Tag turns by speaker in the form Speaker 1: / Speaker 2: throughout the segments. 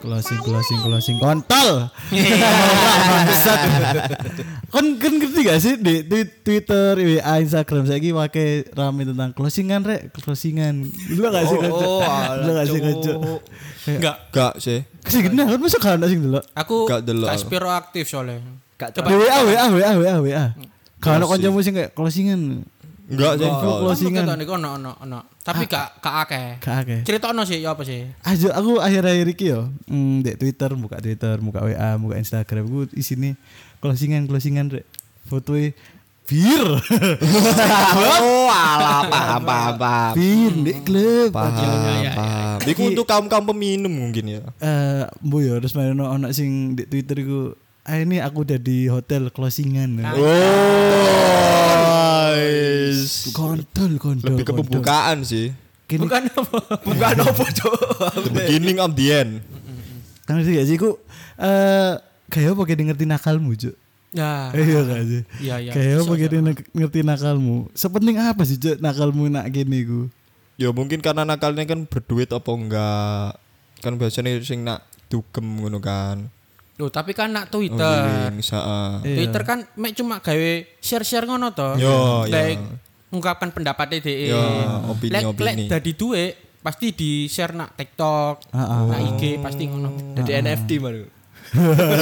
Speaker 1: closing closing closing kontol bangsat kan kan ngerti gak sih di, di Twitter WA Instagram saya lagi pakai rame tentang closingan rek closingan lu gak sih kocok
Speaker 2: Oh,
Speaker 1: lu gak sih
Speaker 2: cowok.
Speaker 1: kocok
Speaker 3: Enggak.
Speaker 4: Gak sih.
Speaker 1: kasih gini kan masa kan sing dulu
Speaker 3: Aku
Speaker 4: Gak delok.
Speaker 3: gak spiro aktif soalnya.
Speaker 2: Gak
Speaker 3: Coba
Speaker 1: di WA WA WA WA WA kalau kancamu sing kayak closingan
Speaker 4: Enggak sih.
Speaker 1: Enggak.
Speaker 4: Enggak.
Speaker 1: closingan.
Speaker 3: Kan mungkin ono ono ono. Tapi gak gak akeh.
Speaker 1: Ah. gak akeh
Speaker 3: Cerita ono sih ya apa sih?
Speaker 1: Aja aku akhir-akhir iki yo, mm, di Twitter, buka Twitter, buka WA, buka Instagram, gue isine closingan closingan rek. Fotoe bir.
Speaker 4: Oh, alah paham paham paham.
Speaker 1: bir di klub.
Speaker 4: Paham paham. Iku untuk kaum kaum peminum mungkin ya.
Speaker 1: Eh, bu yo terus main ono ono sing di Twitter gue. Ah ini aku udah di hotel closingan.
Speaker 3: Ah.
Speaker 4: Oh,
Speaker 1: Kontol kontol.
Speaker 4: lebih ke
Speaker 1: kontol.
Speaker 4: pembukaan sih.
Speaker 1: Gini,
Speaker 3: Bukan apa.
Speaker 2: Bukan apa cok.
Speaker 4: The beginning of the end.
Speaker 1: kan sih gak sih ku eh kayak apa kayak ngerti nakalmu, Cuk?
Speaker 3: Ya.
Speaker 1: Iya gak sih?
Speaker 3: Iya, iya.
Speaker 1: Kayak apa
Speaker 3: Bisa,
Speaker 1: kayak ngerti nakalmu? Sepenting apa sih, Cuk, nakalmu nak gini gue?
Speaker 4: Ya mungkin karena nakalnya kan berduit apa enggak. Kan biasanya sing nak dugem ngono kan. Oh,
Speaker 3: Loh, tapi kan nak Twitter.
Speaker 4: Wiwing, saa.
Speaker 3: Twitter kan mek cuma gawe share-share ngono to.
Speaker 4: Yo,
Speaker 3: Like,
Speaker 4: yo.
Speaker 3: ngungkapkan pendapatnya DE. e.
Speaker 4: Yo, opini,
Speaker 3: Lek- lek
Speaker 4: opini.
Speaker 3: dadi duwe pasti di share nak TikTok,
Speaker 1: Ah,
Speaker 3: nak IG pasti ngono.
Speaker 2: Jadi NFT baru.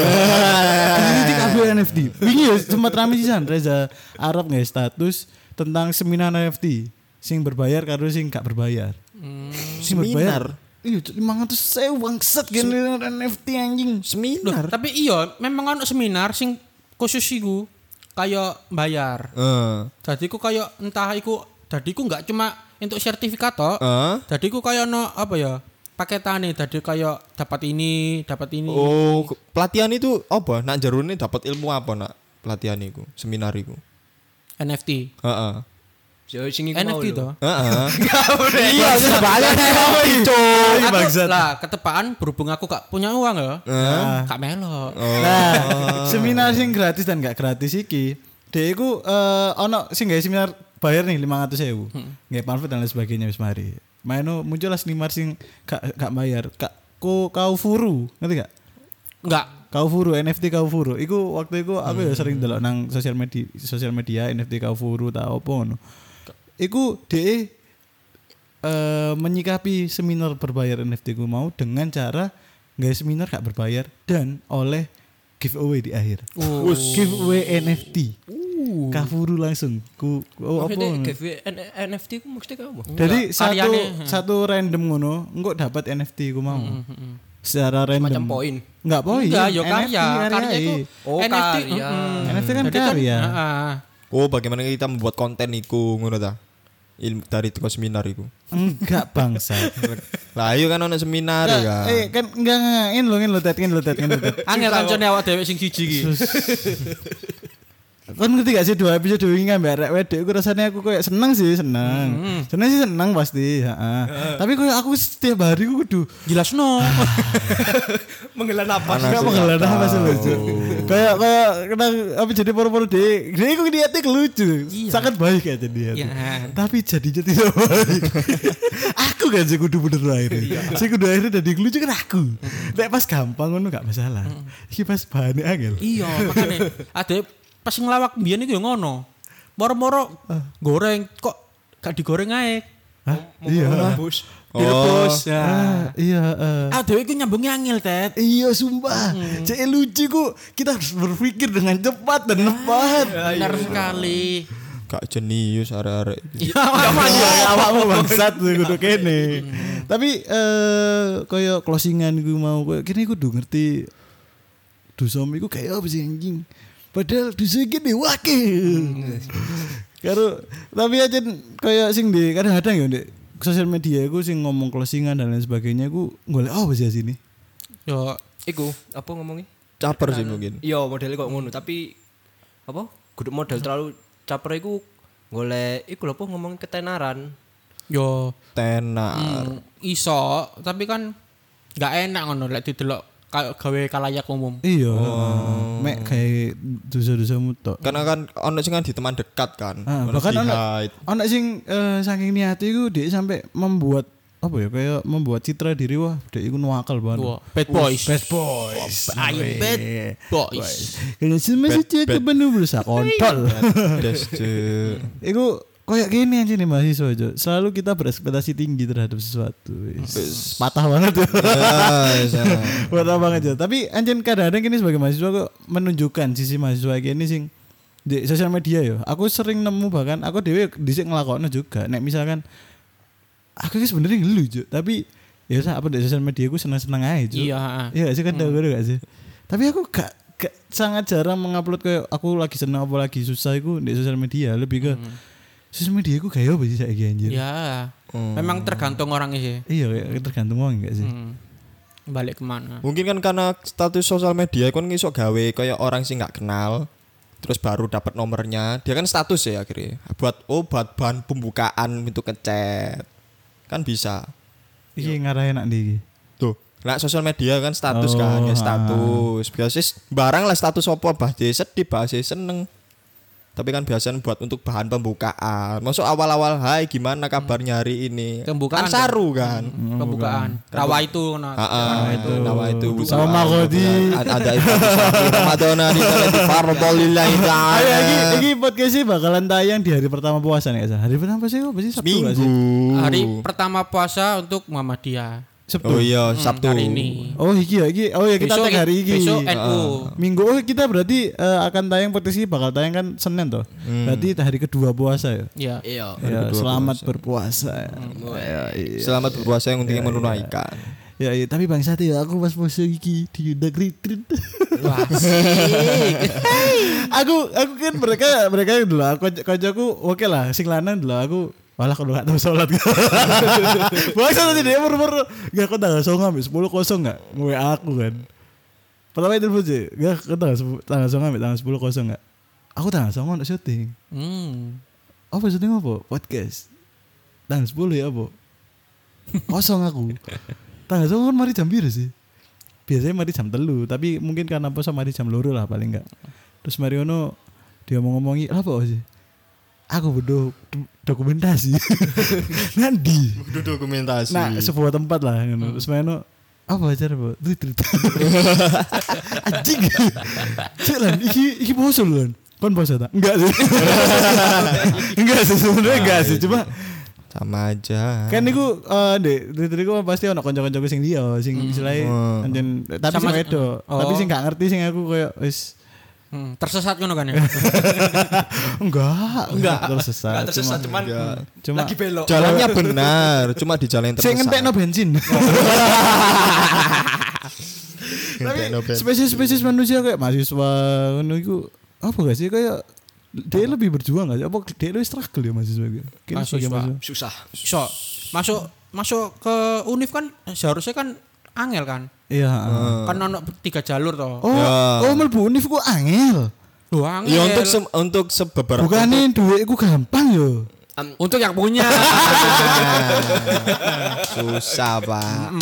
Speaker 1: Kritik aku NFT. Wingi ya sempat rame sisan Reza Arab nggak ya, status tentang seminar NFT. Sing berbayar karo sing gak berbayar. Sing berbayar. Iya, lima ratus sewa bangset gini NFT anjing.
Speaker 3: Loh,
Speaker 4: Seminar.
Speaker 3: tapi iya memang ono seminar sing khusus iku kayak bayar.
Speaker 4: Eh.
Speaker 3: Jadi ku kayak entah iku jadi ku nggak cuma untuk sertifikat toh.
Speaker 4: Eh?
Speaker 3: Jadi ku kayak ono apa ya? Paketan nih, jadi kayak dapat ini, dapat ini.
Speaker 4: Oh, ke- pelatihan itu apa? Nak jarune dapat ilmu apa nak pelatihan iku, seminar iku?
Speaker 3: NFT.
Speaker 4: Heeh.
Speaker 2: Jadi sing iku mau
Speaker 3: NFT
Speaker 2: lho.
Speaker 3: toh.
Speaker 4: Heeh.
Speaker 2: Iya,
Speaker 4: banyak apa itu?
Speaker 3: Aku lah ketepaan berhubung aku gak punya uang ya. Gak melo.
Speaker 1: Nah, seminar sing gratis dan gak gratis iki. Dia iku eh, ono sing gawe seminar bayar nih 500 sewu. Nggak pamflet dan lain sebagainya wis mari. Maino muncul lah seniman sing gak gak bayar. Kak ku kau furu, ngerti gak?
Speaker 3: Enggak.
Speaker 1: Kaufuru NFT Kaufuru. Iku waktu iku aku ya sering delok nang sosial media sosial media NFT Kaufuru ta opo ngono. Iku DE eh menyikapi seminar berbayar NFT ku mau dengan cara nggak seminar gak berbayar dan oleh giveaway di akhir.
Speaker 3: Oh.
Speaker 1: Giveaway NFT. Kaufuru langsung ku oh, apa
Speaker 3: E,
Speaker 2: Maksudnya
Speaker 1: ngono.
Speaker 2: gawe N- NFT ku maksudnya kayak apa?
Speaker 1: Jadi
Speaker 3: Enggak, hmm.
Speaker 1: satu
Speaker 3: karyane,
Speaker 1: satu random ngono engko dapat NFT ku mau. Secara
Speaker 2: Macam
Speaker 1: random.
Speaker 2: poin.
Speaker 1: Enggak poin.
Speaker 3: Hmm, Enggak, yo
Speaker 1: NFT,
Speaker 3: karya. Karya
Speaker 1: ya,
Speaker 3: itu
Speaker 2: Oh,
Speaker 3: NFT.
Speaker 2: karya.
Speaker 3: mm-mm.
Speaker 1: NFT kan
Speaker 3: Jadi kan,
Speaker 1: karya.
Speaker 3: heeh.
Speaker 4: Oh, bagaimana kita membuat konten iku ngono ta? Ilmu dari teko seminar iku.
Speaker 1: Enggak bangsa.
Speaker 4: Lah iya kan ono seminar ya.
Speaker 1: Enggak, eh kan enggak ngain lo ngin lo tet ngin lo tet ngin lo tet.
Speaker 3: Angel kancane awak dhewe sing siji iki.
Speaker 1: Kan ngerti gak sih dua episode wingi ngambil rek wedok iku rasanya aku kayak seneng sih, seneng.
Speaker 3: Hmm,
Speaker 1: Seneng sih seneng pasti, heeh. Tapi kayak aku setiap hari aku kudu
Speaker 3: Jelas no.
Speaker 2: Menggelar apa?
Speaker 4: Mana
Speaker 1: Enggak
Speaker 4: sih
Speaker 1: mengelar
Speaker 4: nggak
Speaker 1: apa sih
Speaker 4: tahu.
Speaker 1: lucu. Kayak kayak kena apa jadi poro-poro deh. Dia aku niatnya lucu. Sangat baik aja dia.
Speaker 3: Iya.
Speaker 1: Tapi jadinya tidak baik. aku kan sih kudu bener akhirnya. Saya kudu akhirnya jadi lucu kan aku. Nek pas gampang ngono gak masalah. Iki pas bahannya angel.
Speaker 3: Iya, makane ade pas ngelawak mbiyen iku yo ngono. Moro-moro goreng kok gak digoreng ae. ya.
Speaker 1: Hah? Iya.
Speaker 2: Bus.
Speaker 4: Oh,
Speaker 1: Ah, Iya. eh.
Speaker 3: Ah dhewe iku nyambungnya angel, Tet.
Speaker 1: Iya sumpah. Cek lucu ku kita harus berpikir dengan cepat dan lebat.
Speaker 3: Bener sekali.
Speaker 4: gak jenius arek-arek.
Speaker 3: Iya,
Speaker 4: iki.
Speaker 1: Ya, awakmu bangsat tuh kudu kene. Tapi eh koyo closingan gue mau koyo kene kudu ngerti dosa iku kayak apa sih anjing. Padahal dosa iki dewake. Karo tapi aja koyo sing di kadang-kadang ya di sosial media iku sing ngomong closingan dan lain sebagainya iku golek apa sih sini?
Speaker 3: Yo
Speaker 2: Iku apa ngomongnya?
Speaker 4: Caper sih mungkin.
Speaker 2: Iya modelnya kok ngono tapi apa? Guduk model terlalu caper iku golek iku lho apa ngomong ketenaran.
Speaker 3: yo
Speaker 4: Tenar.
Speaker 3: Hmm, iso tapi kan nggak enak ngono lek didelok kayak gawe kalayak umum
Speaker 1: Iya. Mek kayak dosa-dosamu tok.
Speaker 4: Karena kan ono sing kan di teman dekat kan.
Speaker 1: Ah,
Speaker 4: Ono
Speaker 1: bahkan
Speaker 4: di
Speaker 1: ono
Speaker 4: hide.
Speaker 1: ono sing eh, saking niat iku dia sampai membuat apa ya kayak membuat citra diri wah dek iku nu akal banget.
Speaker 3: Wah, bad boys.
Speaker 1: Bad boys.
Speaker 3: Ayo bad boys. Iya,
Speaker 1: Kene sing
Speaker 4: Bad-
Speaker 1: masih
Speaker 4: bad.
Speaker 1: cek kebenu berusaha kontol.
Speaker 4: Das, Cuk.
Speaker 1: Iku kayak gini aja nih mahasiswa Jo. Selalu kita berekspektasi tinggi terhadap sesuatu. Wis. Patah banget ya.
Speaker 4: Ya, sama.
Speaker 1: Patah banget Jo. Tapi anjen kadang-kadang ini sebagai mahasiswa kok menunjukkan sisi mahasiswa ini sing di sosial media ya. Aku sering nemu bahkan aku dhewe dhisik nglakokno juga. Nek misalkan aku ini sebenarnya ngelu Jo, tapi ya usah apa di sosial media aku seneng-seneng aja Jo.
Speaker 3: Iya, ha.
Speaker 1: Iya gak sih kan hmm. gak sih. Tapi aku gak, gak sangat jarang mengupload kayak aku lagi seneng apa lagi susah itu di sosial media lebih ke
Speaker 3: Hmm.
Speaker 1: sosial media aku kayak apa sih saiki anjir.
Speaker 3: Ya.
Speaker 1: Oh.
Speaker 3: Memang tergantung orangnya sih.
Speaker 1: Iya kayak tergantung wong gak sih.
Speaker 3: Hmm. Balik kemana?
Speaker 1: Oh,
Speaker 4: Mungkin kan karena status sosial media kan ngisok gawe kayak orang sih nggak kenal terus baru dapat nomornya dia kan status ya akhirnya buat oh buat bahan pembukaan untuk ngechat kan bisa
Speaker 3: Iya.
Speaker 1: Iki ngarahin nak ndi iki.
Speaker 4: tuh nah sosial media kan status
Speaker 1: Oh,
Speaker 4: kan
Speaker 1: ah.
Speaker 4: ya status biasanya s- barang lah status apa bahasa sedih bahasa seneng tapi kan biasanya buat untuk bahan pembukaan masuk awal-awal hai gimana kabarnya hari ini
Speaker 3: Pembukaan
Speaker 4: kan saru kan
Speaker 3: Pembukaan. Rawa itu kena.
Speaker 4: Ah, itu nama itu
Speaker 1: Sama Godi.
Speaker 4: Ada Madonna di sana di Farbol lillahi ta'ala.
Speaker 1: Ayo iki iki podcast sih bakalan tayang di hari pertama puasa nih Esa. Hari pertama sih apa sih Sabtu gak
Speaker 4: Minggu.
Speaker 1: sih?
Speaker 3: Hari
Speaker 1: Uh.
Speaker 3: pertama puasa untuk Muhammadiyah.
Speaker 1: Sabtu.
Speaker 4: Oh iya, Sabtu.
Speaker 3: Hari ini.
Speaker 1: Oh iki ya iki. Oh ya kita
Speaker 3: Besok-
Speaker 1: tag hari iki.
Speaker 3: Besok NU.
Speaker 1: Minggu oh kita berarti eh, akan tayang podcast ini bakal tayang kan Senin toh. Berarti hari kedua puasa ya.
Speaker 3: Ya.
Speaker 2: Iya.
Speaker 1: Ya, selamat berpuasa. Ya. Ya, iya.
Speaker 4: Selamat berpuasa yang untungnya menunaikan.
Speaker 1: Ya, iya. tapi Bang Sate ya aku pas puasa iki diundang retreat.
Speaker 3: Wah, asik.
Speaker 1: aku aku kan mereka mereka yang dulu aku kancaku oke lah sing lanang dulu aku malah kalau nggak tahu sholat Bahasa tadi dia murmur Gak kok tanggal songo ambil sepuluh kosong gak Gue aku kan Pertama itu pun sih Gak kok tanggal sepu- tanggal songo ambil tanggal sepuluh kosong gak Aku tanggal songo untuk syuting
Speaker 3: Hmm.
Speaker 1: apa syuting apa podcast tanggal 10 ya apa kosong aku tanggal 10 kan mari jam biru sih biasanya mari jam telu tapi mungkin karena poso mari jam loro lah paling enggak terus Mariono dia mau ngomongi apa sih aku butuh do- dokumentasi nanti
Speaker 4: Itu dokumentasi.
Speaker 1: nah sebuah tempat lah ngono. terus Mariono apa aja apa tweet tweet anjing jalan iki iki poso lho Lan. kon poso tak enggak sih enggak sih sebenarnya enggak sih cuma
Speaker 4: iya. sama aja.
Speaker 1: kan niku eh ndek Twitter iku pasti ono kanca-kanca sing dia sing istilahnya
Speaker 4: Hmm.
Speaker 1: anjen tapi sing
Speaker 3: Sama-
Speaker 1: wedo
Speaker 3: Oh.
Speaker 1: tapi sing gak ngerti sing aku koyo wis
Speaker 3: Hmm. Tersesat ngono kan ya?
Speaker 1: enggak enggak tersesat
Speaker 2: Gak tersesat cuman
Speaker 1: cuma
Speaker 2: lagi belok.
Speaker 4: Jalannya benar, cuma di jalan yang
Speaker 1: sing
Speaker 4: tersesat.
Speaker 1: ngentekno bensin
Speaker 4: Ngentekno ben-
Speaker 1: spesies-spesies manusia kayak mahasiswa ngono iku apa gak sih kayak dia lebih berjuang gak sih? Apa dia lebih struggle ya mahasiswa gitu? Kayaknya
Speaker 3: Mahasiswa.
Speaker 1: sebagai
Speaker 2: Susah.
Speaker 3: So, masuk masuk ke univ kan seharusnya kan angel kan?
Speaker 1: Iya. heeh.
Speaker 3: Kan ono tiga jalur toh.
Speaker 1: Oh, oh melbu univ ku angel.
Speaker 3: Loh, angel.
Speaker 4: Ya untuk se- untuk sebeberapa
Speaker 1: Bukannya duit ku gampang yo.
Speaker 3: Untuk yang punya.
Speaker 4: susah, Pak.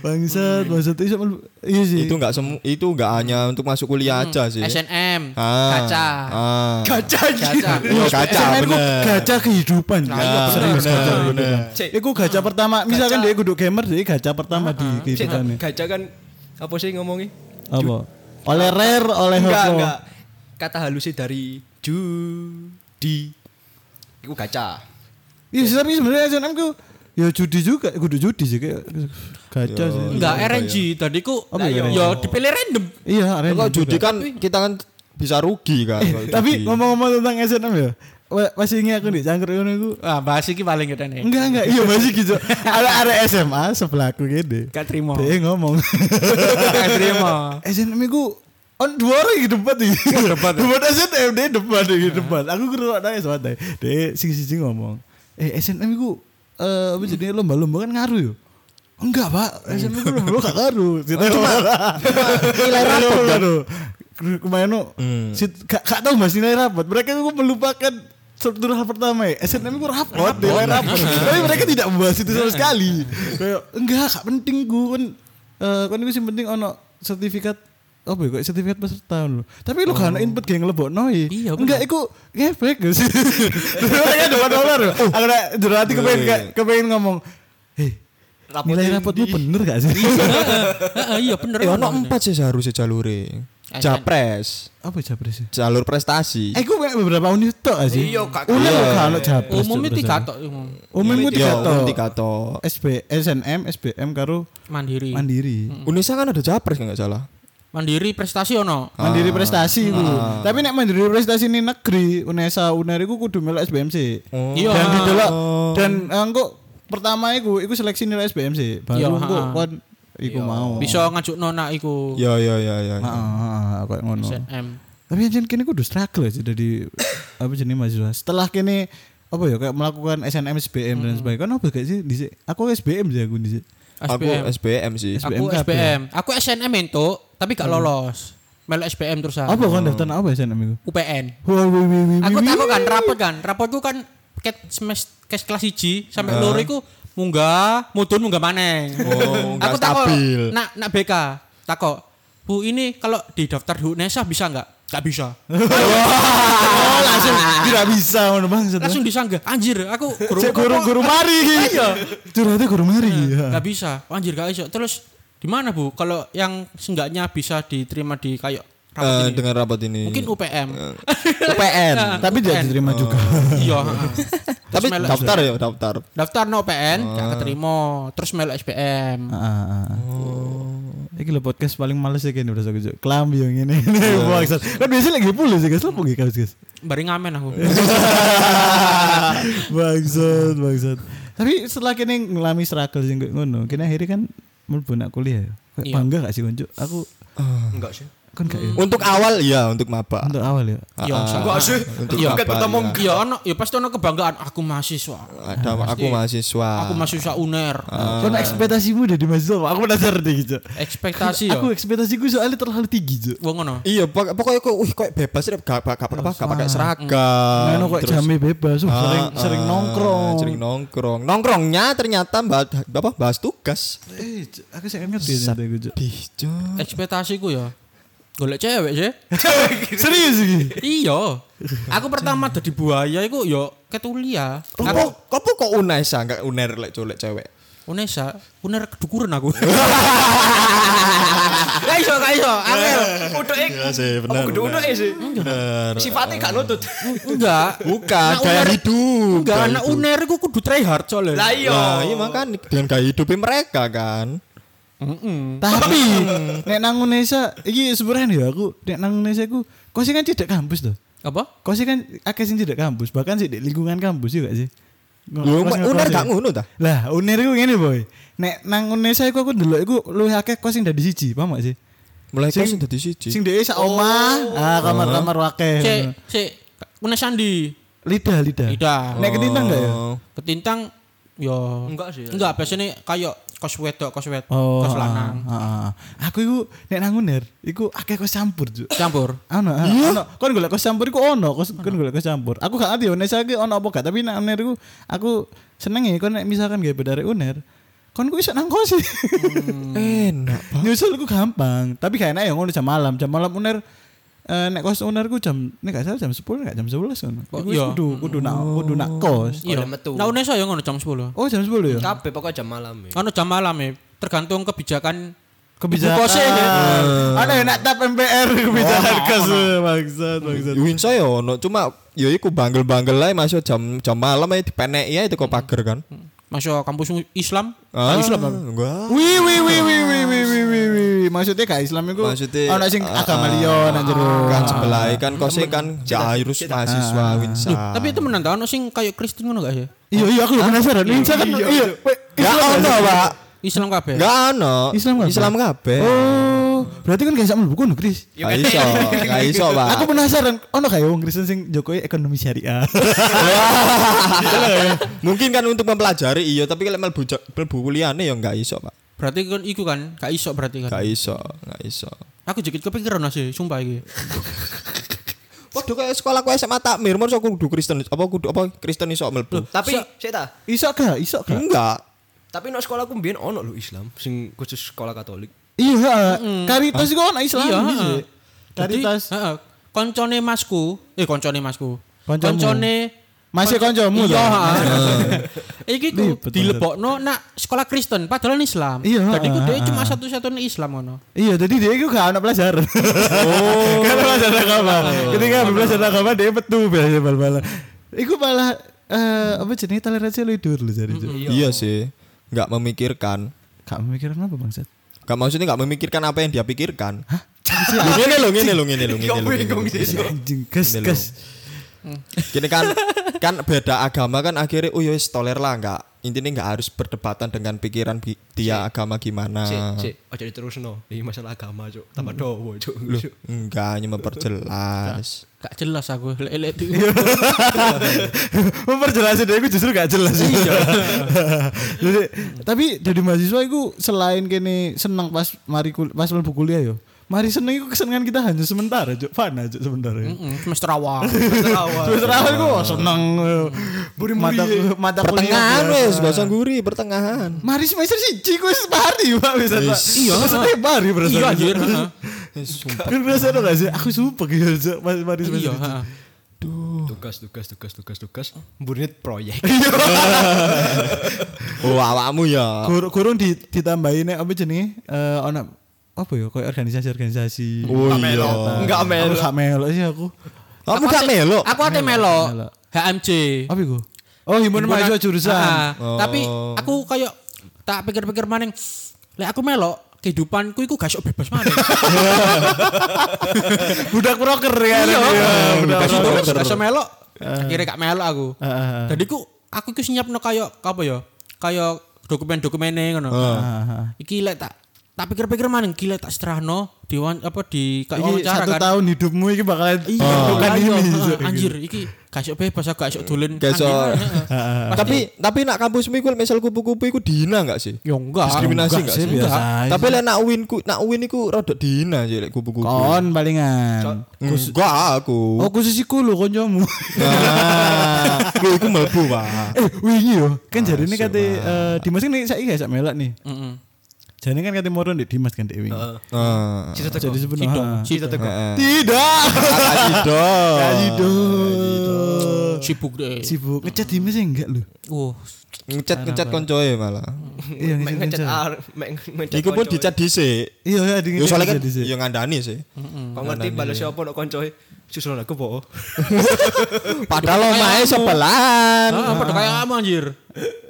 Speaker 1: Bangsat, bangsat itu melbu. Iya sih.
Speaker 4: Itu enggak semu itu enggak hanya untuk masuk kuliah aja sih.
Speaker 3: SNM,
Speaker 4: Ah.
Speaker 3: kaca.
Speaker 4: Ah.
Speaker 2: Gaca.
Speaker 3: Kaca.
Speaker 4: Iya, Kaca
Speaker 1: SNM ku
Speaker 4: bener.
Speaker 1: gajah kehidupan.
Speaker 4: iya,
Speaker 1: Serius,
Speaker 4: bener,
Speaker 1: gajah
Speaker 4: bener. Ah,
Speaker 1: kehidupan.
Speaker 2: Cek.
Speaker 1: Iku gajah pertama, misalkan dia kudu gamer, dia gajah pertama di kehidupannya.
Speaker 2: Gaca kan apa sih ngomongi?
Speaker 1: Apa? Oleh rare, oleh
Speaker 2: Enggak,
Speaker 1: apa?
Speaker 2: enggak. Kata halusnya dari judi. Iku gaca.
Speaker 1: Iya, sih, tapi sebenarnya SNM ku ya judi juga, kudu judi sih kayak gajah sih.
Speaker 3: Enggak RNG tadi ku
Speaker 1: Apa ya RNG?
Speaker 3: ya dipilih random.
Speaker 1: Iya,
Speaker 4: Ya,
Speaker 1: arena
Speaker 4: Kalau
Speaker 1: juga.
Speaker 4: judi kan kita kan bisa rugi kan. kalau
Speaker 1: Eh, Tapi
Speaker 4: judi.
Speaker 1: ngomong-ngomong tentang SNM ya, wa- masih ingat aku di cangkruk ngono iku.
Speaker 3: Ah, bahas iki paling gede nih.
Speaker 1: Enggak enggak, iya masih gitu. Ada ada SMA sebelah aku gede.
Speaker 3: Gak terima.
Speaker 1: Dia ngomong.
Speaker 3: Gak terima.
Speaker 1: SNM iku on dua orang di depan nih. Depan. depan SNM dia depan di depan. Aku kira ada SMA tadi. Dia sing-sing ngomong. Eh SNM iku eh apa jadinya lomba-lomba kan ngaruh yo. Enggak, Pak. SNM iku lomba gak ngaruh. Oh, Cuma nilai rapot Hmm. Kemarin no, sit- gak, gak tahu mas nilai rapot. Mereka itu melupakan struktur hal pertama ya. SNM itu rapot, Hmm. nilai rapot. Tapi mereka tidak membahas itu sama sekali. Kayak enggak, gak penting gue kan. eh, kan gue sih penting ono sertifikat apa ya, kayak sertifikat peserta lo. Tapi lo
Speaker 4: Oh.
Speaker 1: gak ada input kayak ngelebok noi.
Speaker 3: Iya, bener.
Speaker 1: enggak, iku
Speaker 4: Iya,
Speaker 1: ngefek gak sih. Terus mereka dua dolar. Aku udah jurati kepengen kepengen ngomong. Hei, nilai rapotmu bener gak sih?
Speaker 3: Heeh, iya bener.
Speaker 4: Eh ono empat sih seharusnya jalure.
Speaker 3: Ajan.
Speaker 4: Japres,
Speaker 1: Apa capres ya?
Speaker 4: jalur prestasi.
Speaker 1: Eh, gue beberapa unit tok gak sih.
Speaker 2: Iya, Kak.
Speaker 1: Unit
Speaker 4: Iya. Iya.
Speaker 1: lo gak ono capres.
Speaker 3: Umumnya
Speaker 1: Cuk,
Speaker 3: tiga
Speaker 1: perasaan.
Speaker 3: tok umum.
Speaker 1: Umumnya tiga
Speaker 4: Yo,
Speaker 1: tok.
Speaker 4: tiga tok. Iya.
Speaker 1: SB, SNM, SBM karo
Speaker 3: Mandiri.
Speaker 1: Mandiri.
Speaker 3: Hmm.
Speaker 4: Unisa kan ada Japres nggak salah.
Speaker 3: Mandiri prestasi ono.
Speaker 4: Oh.
Speaker 1: Mandiri
Speaker 4: Ah.
Speaker 1: prestasi itu. Tapi nek mandiri prestasi ini negeri, UNESA, UNER iku kudu melok SBMC.
Speaker 3: Iya.
Speaker 1: Dan didelok dan Ah. engko pertama iku iku seleksi nilai SBMC.
Speaker 3: Iya,
Speaker 1: Baru engko
Speaker 3: ha.
Speaker 1: kon iku mau. Ah,
Speaker 3: Iya. Bisa ngajuk nona iku.
Speaker 4: Ya ya ya ya.
Speaker 1: Heeh, heeh, kayak ngono.
Speaker 3: SNM.
Speaker 1: Tapi anjen kene kudu struggle aja dari apa jenis mahasiswa. Setelah kene apa ya kayak melakukan SNM SBM
Speaker 3: Hmm.
Speaker 1: dan sebagainya. Kan apa gak sih dhisik? Aku SBM sih aku dhisik.
Speaker 4: Aku
Speaker 3: SBM.
Speaker 4: SBM sih. Eh,
Speaker 1: SBM
Speaker 3: Aku
Speaker 1: kabeh.
Speaker 3: SBM. Aku SNM entuk, tapi gak
Speaker 4: Hmm.
Speaker 3: lolos. Melu SBM terus aku.
Speaker 1: Apa kon daftar apa SNM iku?
Speaker 3: UPN.
Speaker 1: Wah, wih, wih, wih,
Speaker 3: Ah. Aku
Speaker 4: Iya,
Speaker 1: wih,
Speaker 3: takut kan rapot kan. Rapotku kan ket semester kelas 1 sampai loro iku munggah, mudun munggah maneh.
Speaker 4: Oh, nggak
Speaker 3: aku takut
Speaker 4: stabil.
Speaker 3: nak nak BK. Takut. Bu ini kalau di daftar di UNESA bisa nggak? Gak bisa.
Speaker 1: Oh, langsung tidak bisa ngono bang.
Speaker 3: Langsung disanggah. Anjir, aku guru
Speaker 1: Cek guru-guru mari. Iya. Curhatnya guru mari. ya.
Speaker 3: Gak bisa. "Oh, Anjir gak iso. Terus di mana Bu? Kalau yang seenggaknya bisa diterima di kayak rapot
Speaker 4: Eh,
Speaker 3: ini.
Speaker 4: dengan rapat ini.
Speaker 3: Mungkin UPM.
Speaker 4: UPN.
Speaker 1: Tapi tidak diterima juga.
Speaker 3: Iya.
Speaker 4: Tapi
Speaker 3: melek
Speaker 4: daftar ya Ah. daftar.
Speaker 3: Daftar no PN, gak keterima. Terus melu SPM.
Speaker 4: Ah.
Speaker 1: Iki lho podcast paling males ya kene berasa gue. Kelambi yang ini.
Speaker 4: Iya.
Speaker 1: Bangsat. Kan biasanya lagi full sih guys. Lo pergi guys guys.
Speaker 3: Bari ngamen aku.
Speaker 1: Bangsat, bangsat. Tapi setelah kene ngelami struggle sing kayak ngono, kene akhirnya kan mlebu nak kuliah ya. Kayak
Speaker 3: Iya.
Speaker 1: Bangga gak sih konjuk? Aku
Speaker 2: Enggak sih.
Speaker 1: kan gak ya.
Speaker 4: Untuk awal ya untuk maba. Ah,
Speaker 1: Untuk awal ya.
Speaker 3: Iya,
Speaker 2: Enggak sih.
Speaker 4: Untuk
Speaker 2: Iya,
Speaker 4: apa,
Speaker 2: kan ketemu
Speaker 4: iya.
Speaker 3: Iya ono, ya pasti ono kebanggaan aku mahasiswa.
Speaker 4: Ada aku mahasiswa.
Speaker 3: Ah, Aku mahasiswa UNER.
Speaker 4: Ah.
Speaker 1: Kau nak ekspektasimu dari mahasiswa? apa? Aku penasaran deh gitu.
Speaker 3: Ekspektasi ya.
Speaker 1: Aku ekspektasiku soalnya terlalu tinggi Cuk.
Speaker 3: Wong ono.
Speaker 4: Iya, pok- pokoknya kok wih kok bebas rep gak gak gak-
Speaker 3: Iya,
Speaker 4: apa gak pakai seragam.
Speaker 1: Ngono kok
Speaker 4: Ah, Terus-
Speaker 1: jame bebas, wah,
Speaker 4: Ah,
Speaker 1: sering
Speaker 4: ah,
Speaker 1: sering nongkrong.
Speaker 4: Sering nongkrong. Nongkrongnya ternyata bahas, apa bahas tugas.
Speaker 1: Eh, Cuk, aku sih ngerti ternyata iku, Cuk.
Speaker 4: Dijo.
Speaker 3: Ekspektasiku ya. Golek cewek sih.
Speaker 1: Serius iki.
Speaker 3: iya. Aku pertama jadi buaya iku yo ketulia.
Speaker 4: Apa apa kok unesa enggak uner lek colek cewek.
Speaker 3: Unesa, uner kedukuran aku. Gak iso, gak iso. Angel.
Speaker 2: Udah eh.
Speaker 4: sih,
Speaker 2: Apa kudu udah eh sih.
Speaker 4: Bener.
Speaker 2: Sifatnya gak nutut.
Speaker 3: Enggak.
Speaker 4: Bukan
Speaker 3: Nah,
Speaker 4: gaya
Speaker 3: uner-
Speaker 4: hidup.
Speaker 3: Enggak,
Speaker 4: gaya
Speaker 3: anak
Speaker 4: hidup.
Speaker 3: uner iku kudu try hard soalnya.
Speaker 2: Lah iya.
Speaker 4: Lah, iya makan dengan gaya hidupnya mereka kan.
Speaker 1: Tapi nek nang Indonesia iki sebenarnya ya aku nek nang Indonesia aku kau sih kan cedek kampus tuh.
Speaker 3: Apa?
Speaker 1: Kau sih kan akeh sing cedek kampus, bahkan sih di lingkungan kampus juga sih.
Speaker 4: Lu
Speaker 1: Kau sih nggak-
Speaker 4: uner
Speaker 1: kau Nah, sih.
Speaker 4: gak ngono ta?
Speaker 1: Lah, uner iku ngene, Boy. Nek nang Indonesia iku aku ndelok iku luwih akeh kos sing dari siji, paham gak sih?
Speaker 4: Mulai
Speaker 1: Sing-
Speaker 4: kos sing dadi siji. Oh.
Speaker 1: Sing dhewe sak omah, ah kamar-kamar
Speaker 4: Eh.
Speaker 1: wakeh.
Speaker 3: Cek, cek. Unes Sandi.
Speaker 1: Lidah, lidah.
Speaker 3: Lidah.
Speaker 1: Nek ketintang enggak ya?
Speaker 4: Oh.
Speaker 3: Ketintang yo.
Speaker 2: Enggak sih.
Speaker 3: Enggak, biasanya kayak kos wedok, kos wedok,
Speaker 1: Oh, ah,
Speaker 3: kos lanang.
Speaker 1: ah, ah. Aku iku nek nang uner, iku akeh kos campur, Cuk.
Speaker 3: Campur.
Speaker 1: Ano, ano, kon golek kos campur iku ono, kos kon golek kos campur. Aku gak ngerti Indonesia iki ono apa gak, tapi nang UNER iku aku seneng ya kon nek misalkan gawe bedare UNER, kon ku iso nang kos.
Speaker 3: Hmm.
Speaker 4: Enak banget.
Speaker 1: Nyusul ku gampang, tapi gak enak ya ngono jam malam. Jam malam UNER eh, nek kos UNER ku jam nek gak salah jam 10 gak jam 11 kan.
Speaker 3: Oh,
Speaker 1: Iku wis
Speaker 3: iya.
Speaker 1: kudu kudu nak kudu nak kos.
Speaker 3: Iya.
Speaker 2: Oleh metu.
Speaker 3: Nah, Unesa yo ngono jam 10.
Speaker 1: Oh, jam 10 ya?
Speaker 2: Kabeh pokoknya jam malam. ya.
Speaker 3: Ono jam malam ya. Tergantung kebijakan
Speaker 1: Kebijakan.
Speaker 3: Ibu kosnya Oh. ya.
Speaker 1: Ada yang nak tap MPR kebijakan kos bangsat bangsat.
Speaker 4: Winsa ya ono cuma ya iku banggel-banggel ae masuk jam jam malam ae dipeneki ae teko pager kan.
Speaker 3: Hmm. masuk kampus Islam.
Speaker 4: Ah, Islam
Speaker 1: Wih wih wih wih wih wih wih wih wih wih maksudnya gak Islam itu
Speaker 4: Maksudnya
Speaker 1: ana sing agama liya nang jero Ah.
Speaker 4: kan sebelah kan kose kan jairus mahasiswa Winsa.
Speaker 3: Loh, tapi itu menantang ono sing kayak Kristen ngono gak sih?
Speaker 1: iya iya aku penasaran Indonesia kan iya weh,
Speaker 4: Gak Ya ono, Pak.
Speaker 3: Islam kabeh.
Speaker 4: Gak ono.
Speaker 1: Islam kabeh.
Speaker 4: Islam kabeh.
Speaker 1: oh berarti kan gak bisa mlebu kono Kris
Speaker 4: Gak iso, gak iso, Pak.
Speaker 1: aku penasaran ono kayak wong Kristen sing Jokowi ekonomi syariah
Speaker 4: Mungkin kan untuk mempelajari iya, tapi kalau mlebu jo- mlebu kuliahne ya gak iso, Pak.
Speaker 3: Berarti kan iku kan gak iso berarti kan.
Speaker 4: Gak iso, gak iso.
Speaker 3: Aku jekit kepikiran sih, sumpah iki.
Speaker 4: Waduh kayak sekolah aku SMA Takmir, masa aku kudu Kristen apa kudu apa Kristen iso mlebu.
Speaker 2: Tapi sik ta.
Speaker 1: iso gak iso gak
Speaker 4: Enggak.
Speaker 2: Tapi nang sekolah aku mbiyen ono lho Islam sing khusus sekolah Katolik.
Speaker 1: iya karitas iku ono Islam
Speaker 3: Iya,
Speaker 1: gitu.
Speaker 3: heeh. Jadi,
Speaker 1: karitas
Speaker 3: heeh, Koncone masku, eh koncone masku.
Speaker 1: Koncomu.
Speaker 3: Koncone
Speaker 1: Masih koncomu
Speaker 3: Iya,
Speaker 1: toh?
Speaker 3: ha. Iki ku
Speaker 1: Ribet
Speaker 3: dilebokno nak sekolah Kristen padahal Islam.
Speaker 1: Iya,
Speaker 3: Jadi ku
Speaker 1: ha,
Speaker 3: dia
Speaker 1: ha.
Speaker 3: cuma satu-satunya Islam ngono.
Speaker 1: Iya, jadi dia itu gak anak pelajar. Oh, gak ada pelajar agama.
Speaker 4: Oh.
Speaker 1: Ketika ambil pelajar agama dia petu biasanya bal-balan. Iku malah eh apa jenenge toleransi lu dur lu jadi. Cuk.
Speaker 4: Iya sih. Nggak memikirkan.
Speaker 1: Gak memikirkan apa bangsat?
Speaker 4: Gak maksudnya nggak memikirkan apa yang dia pikirkan. Hah? Ngene lho, ngene lho, ngene lho, ngene lho, ngene lho.
Speaker 1: Anjing, gas
Speaker 4: Ini
Speaker 1: gas.
Speaker 4: Gini kan kan beda agama kan akhirnya oh yowis toler lah nggak intinya nggak harus berdebatan dengan pikiran bi- dia agama gimana
Speaker 2: Cik,
Speaker 1: Ah.
Speaker 2: cik, ojo diterusno. Iki masalah agama, Cuk. Tambah
Speaker 1: Hmm.
Speaker 2: dowo, Cuk. Cuk.
Speaker 4: enggak hanya memperjelas
Speaker 3: Gak jelas aku lek-lek itu.
Speaker 1: Iya. Memperjelasin dia aku justru gak jelas.
Speaker 4: Iya.
Speaker 1: Jadi, tapi dari mahasiswa aku selain kene senang pas mari kul- pas mlebu kuliah yo. Mari seneng iku kesenangan kita hanya sementara, Cuk. Fana, Cuk, sementara.
Speaker 4: Hmm.
Speaker 1: ya.
Speaker 3: Mm, Semester awal. Iya,
Speaker 1: Semester awal iku oh, wah, seneng. Buri mata mata kuliah.
Speaker 4: Hmm. pertengahan eh. wes gak usah guri pertengahan
Speaker 1: Mari semester siji kuwi separi Pak bisa Pak. Iya, maksudnya pari berasa.
Speaker 3: Iya anjir. ha.
Speaker 1: Kan berasa dong gak sih? Aku sumpah gitu. Cuk. Mas mari
Speaker 3: Iya.
Speaker 1: semester siji.
Speaker 3: ha.
Speaker 2: Tugas, tugas, tugas, tugas, tugas. Mburit proyek.
Speaker 4: oh awakmu ya
Speaker 1: Kur- Kurung di, ditambahin nek apa jenenge? Eh ana apa ya kayak organisasi-organisasi.
Speaker 4: oh iya
Speaker 1: Enggak melo. Enggak melo sih aku.
Speaker 4: kamu
Speaker 3: Aku ate-
Speaker 4: gak melo
Speaker 3: Aku ate melo.
Speaker 1: Melo.
Speaker 3: HMC.
Speaker 1: Apa iku? Oh, himpunan
Speaker 3: Himpunan-
Speaker 1: mahasiswa
Speaker 3: Ah,
Speaker 1: jurusan.
Speaker 4: Oh.
Speaker 3: Tapi aku kayak tak pikir-pikir maning. Lek aku melo kehidupanku iku gak sok bebas maning.
Speaker 1: Budak broker ya.
Speaker 3: Iya.
Speaker 1: budak
Speaker 3: Gak
Speaker 1: broker.
Speaker 3: sok- gak sok melo.
Speaker 1: Eh.
Speaker 3: Akhirnya gak melo aku.
Speaker 1: Heeh, heeh.
Speaker 3: Jadi ku aku iku nyiapno kayak apa ya? Kayak dokumen-dokumennya ngono.
Speaker 1: Eh. Ah, Heeh.
Speaker 3: Iki lek tak tak pikir-pikir maning gila tak serahno di apa di kayak
Speaker 1: Iki
Speaker 3: wawancara
Speaker 1: satu
Speaker 3: kan.
Speaker 1: tahun hidupmu iki bakalan
Speaker 3: Iya,
Speaker 1: bukan
Speaker 3: ayo,
Speaker 1: ini.
Speaker 3: heeh,
Speaker 1: Cuk.
Speaker 3: anjir iki gak sok bebas aku gak sok dolen.
Speaker 4: Gak sok.
Speaker 3: Anjir, Eh, heeh.
Speaker 4: Eh. tapi tapi nak kampusmu iku misal kupu-kupu iku dihina enggak sih
Speaker 3: Ya enggak.
Speaker 4: diskriminasi
Speaker 1: enggak
Speaker 4: enggak
Speaker 1: sih,
Speaker 4: sih
Speaker 1: biasa aja.
Speaker 4: tapi lek nak win ku nak win iku rada dihina sih lek kupu-kupu
Speaker 1: Kon palingan.
Speaker 4: enggak aku
Speaker 1: Oh khusus iku lho koncomu.
Speaker 3: Iya.
Speaker 4: Nah, gue iku mlebu, Pak.
Speaker 1: eh wingi yo, kan jarine kate eh, Dimas kan saiki gak sak melak nih.
Speaker 3: Heeh.
Speaker 1: Jarine kan kate moro ndek Dimas kan dek wingi.
Speaker 4: Heeh.
Speaker 2: Cita teko.
Speaker 1: Jadi
Speaker 3: Eh,
Speaker 1: sebenarnya ha.
Speaker 2: Cita teko.
Speaker 1: tidak. Kasido.
Speaker 3: Sibuk deh.
Speaker 1: Sibuk ngecat Dimas ya enggak lho.
Speaker 3: Wah,
Speaker 4: Ngecat ngecat koncoe malah.
Speaker 1: Iya ngecat.
Speaker 2: Mek ngecat
Speaker 1: ngecat.
Speaker 2: ar- mek ngecat.
Speaker 4: Iku pun
Speaker 2: koncoe.
Speaker 4: dicat dhisik.
Speaker 1: Iya ya
Speaker 4: Yo
Speaker 1: dingin.
Speaker 4: soalnya kan
Speaker 1: jadi sih.
Speaker 4: yo ngandani sih.
Speaker 2: Kok ngerti balas
Speaker 1: iya.
Speaker 2: siapa nak koncoe? eh? Susulan aku po.
Speaker 4: Padahal omahe sebelan.
Speaker 1: Kan
Speaker 3: ah, apa kayak apa anjir?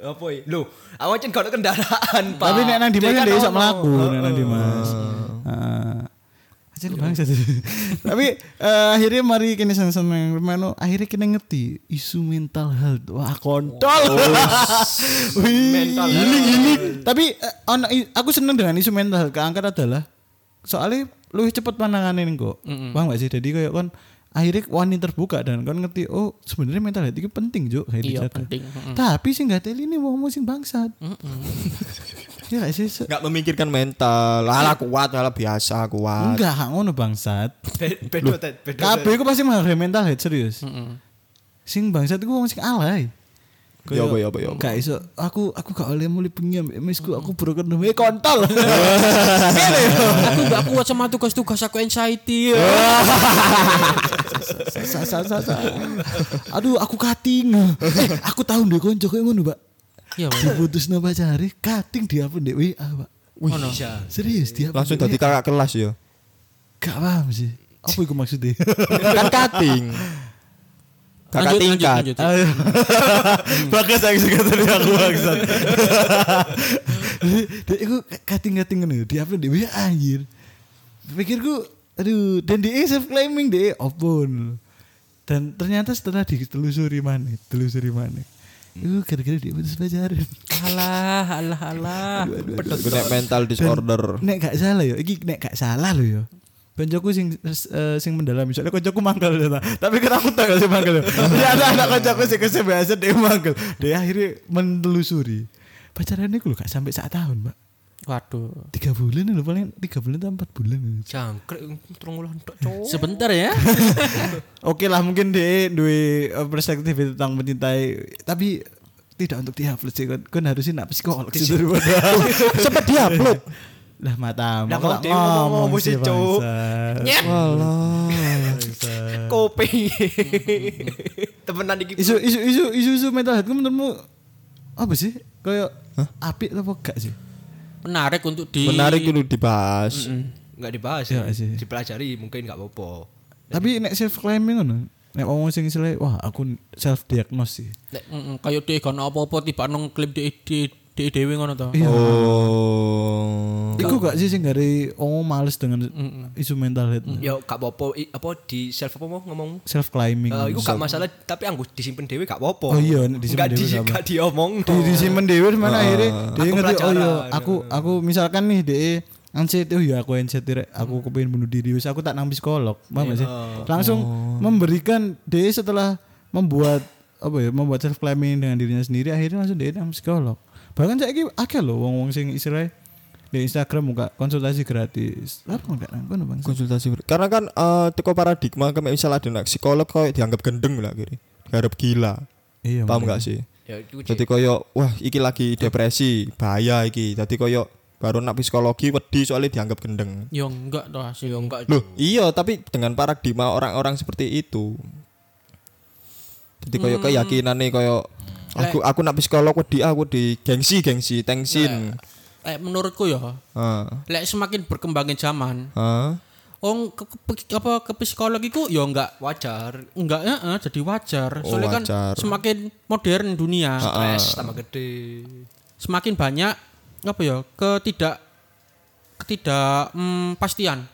Speaker 2: Apa iki? Lho, awak cen gak ada kendaraan, Pak.
Speaker 1: Tapi nek nang Dimas
Speaker 2: Dia
Speaker 1: kan dek iso
Speaker 2: ono.
Speaker 1: mlaku nek nang Dimas. Heeh. Ajen bangsa sih. Tapi eh, akhirnya mari kene seneng-seneng Romano akhirnya kene ngerti isu mental health. Wah, kontol. Wih,
Speaker 2: Mental health.
Speaker 1: Giling-giling. Tapi eh, ono- i- aku seneng dengan isu mental health keangkat adalah soalnya lu cepet pananganin kok. Paham gak sih? Jadi kayak kon akhirnya wani terbuka dan kon ngerti oh sebenarnya mental health itu penting juga
Speaker 3: Iya, penting. Mm-mm.
Speaker 1: tapi sih nggak teli nih wong sing bangsat Iya gak sih Se-
Speaker 4: Enggak memikirkan mental. Lah kuat, lah biasa kuat.
Speaker 1: enggak gak ngono bangsat
Speaker 2: Be- Bedo tet, bedo. tet.
Speaker 1: kabeh iku pasti menghargai mental health serius sing bangsat iku wong sing alay
Speaker 4: Ya apa ya apa ya. apa.
Speaker 1: Gak iso aku aku gak oleh mulai bengi ambek misku aku broken home Eh, kontol. Ngene yo.
Speaker 3: Aku gak kuat sama tugas-tugas aku anxiety.
Speaker 1: Eh. Sa- sa- sa- sa. Aduh aku kating. Eh aku tahu ndek konco koyo ngono, Pak.
Speaker 3: Iya, Pak.
Speaker 1: Diputusno pacare kating dia pun ndek WA, Pak.
Speaker 2: Bisa.
Speaker 1: Serius dia
Speaker 4: Langsung dadi kakak kelas yo.
Speaker 1: gak paham sih. Apa iku maksudnya?
Speaker 4: Kan kating. Kakak
Speaker 3: Lanjut,
Speaker 1: Eh.
Speaker 3: lanjut,
Speaker 4: tingkat. Hmm.
Speaker 3: lanjut.
Speaker 1: Bakas aku suka tadi aku bangsat. Dia aku kating-kating ngono, di upload di WA anjir. Pikirku aduh dan dia self claiming dia opon. Dan ternyata setelah ditelusuri mana, telusuri mana. Itu gara-gara dia putus pacaran.
Speaker 3: Alah, alah, alah.
Speaker 4: Gue nek mental disorder.
Speaker 1: Nek gak salah yo, iki nek gak salah lo yo. Koncoku sing eh, sing mendalami soalnya koncoku mangkel ternyata. Tapi kan aku tau gak sih mangkel. Jadi ada anak koncoku sing ke biasa dia mangkel. Dia akhirnya menelusuri. Pacarannya gue gak sampai saat tahun, Pak.
Speaker 3: Waduh.
Speaker 1: Tiga bulan lho paling tiga bulan atau empat bulan.
Speaker 2: Jangkrik terung ulah tok, Cuk.
Speaker 3: Sebentar ya.
Speaker 1: Oke lah mungkin dia duwe eh, perspektif itu tentang mencintai tapi tidak untuk diupload sih kan kan harusnya nak psikolog sih
Speaker 4: Cepet diupload.
Speaker 1: lah matamu
Speaker 2: Lah,
Speaker 1: kok
Speaker 2: kok dia ngomong-ngomong sih, Cuk.
Speaker 1: bangsat.
Speaker 4: Walah.
Speaker 1: Bangsat.
Speaker 2: Kopi. Temenan iki.
Speaker 1: isu isu isu isu isu mental health ku menurutmu apa sih kayak apik apa gak sih
Speaker 3: menarik untuk di
Speaker 4: Menarik dulu dibahas.
Speaker 2: Enggak dibahas. ya.
Speaker 1: Iya, sih.
Speaker 2: Dipelajari mungkin enggak apa-apa.
Speaker 1: tapi nek self claiming ngono nek ngomong sing istilahnya, wah aku self diagnose sih
Speaker 3: Mm-mm, kayak dia gak apa-apa tiba nong klip di di di dewi ngono to
Speaker 4: Iya. Oh.
Speaker 1: Iku gak sih sing dari oh males dengan isu mental health
Speaker 2: Ya gak apa-apa I- apa di self apa mau ngomong.
Speaker 1: self climbing
Speaker 2: Eh, iku gak masalah tapi anggo disimpen dhewe gak apa-apa.
Speaker 1: Oh iya, nek disimpen
Speaker 2: Nggak di
Speaker 1: dhewe gak apa.
Speaker 2: gak diomong.
Speaker 1: di di simpen dhewe mana akhirnya dia Ah,
Speaker 2: Aku
Speaker 1: ngerti oh iya
Speaker 2: pelajaran.
Speaker 1: aku aku misalkan nih dia anxiety oh iya aku anxiety rek
Speaker 2: Mm.
Speaker 1: aku kepengin bunuh diri wis aku tak nang psikolog paham gak sih
Speaker 2: Iya.
Speaker 1: langsung memberikan dia setelah membuat apa ya membuat self claiming dengan dirinya sendiri akhirnya langsung dia nang psikolog bahkan saya ini akeh loh wong-wong sing istilahnya di Instagram buka konsultasi gratis apa enggak nang kono bang
Speaker 4: konsultasi ber- karena kan eh, teko paradigma kayak misalnya ada anak psikolog kok dianggap gendeng lah kiri dianggap gila
Speaker 1: iya
Speaker 4: paham gak sih
Speaker 2: Ya iku
Speaker 4: jadi koyo wah iki lagi depresi bahaya iki jadi koyo baru nak psikologi wedi soalnya dianggap gendeng
Speaker 3: yo enggak to hasil yo enggak
Speaker 4: loh iya tapi dengan paradigma orang-orang seperti itu jadi koyo keyakinan nih koyo aku aku nak psikolog wedi aku di gengsi gengsi tengsin Ah,
Speaker 3: eh menurutku ya
Speaker 4: Heeh.
Speaker 3: lek semakin berkembangnya zaman
Speaker 4: Heeh.
Speaker 3: Ong ke, ke- apa ke psikolog iku yo enggak
Speaker 2: wajar
Speaker 3: enggak eh, eh, jadi wajar.
Speaker 4: Oh,
Speaker 3: Soalnya kan
Speaker 4: wajar.
Speaker 3: semakin modern dunia,
Speaker 1: Ah,
Speaker 2: stres tambah gede.
Speaker 3: semakin banyak apa ya ketidak ketidak mm, pastian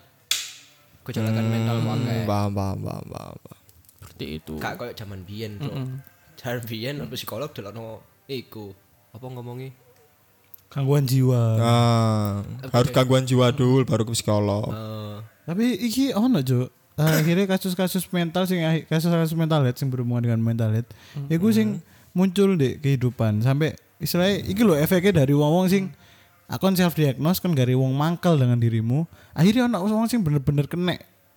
Speaker 2: Gejolakan
Speaker 1: Hmm.
Speaker 2: mental wae.
Speaker 4: paham paham paham paham paham.
Speaker 3: seperti itu.
Speaker 2: Gak koyo zaman biyen, Bro. Zaman biyen apa psikolog delokno iku apa ngomongi?
Speaker 1: gangguan jiwa
Speaker 4: Nah, harus gangguan jiwa dulu baru ke psikolog
Speaker 2: Eh,
Speaker 1: Tapi iki ono jo. Eh, Akhirnya kasus-kasus mental sing ahi- kasus-kasus mental health sing berhubungan dengan mental health. Iku sing muncul di kehidupan sampai istilahnya iki lho efeknya dari wong-wong sing akon self diagnose kan dari wong mangkel dengan dirimu. Akhirnya ono wong sing bener-bener kena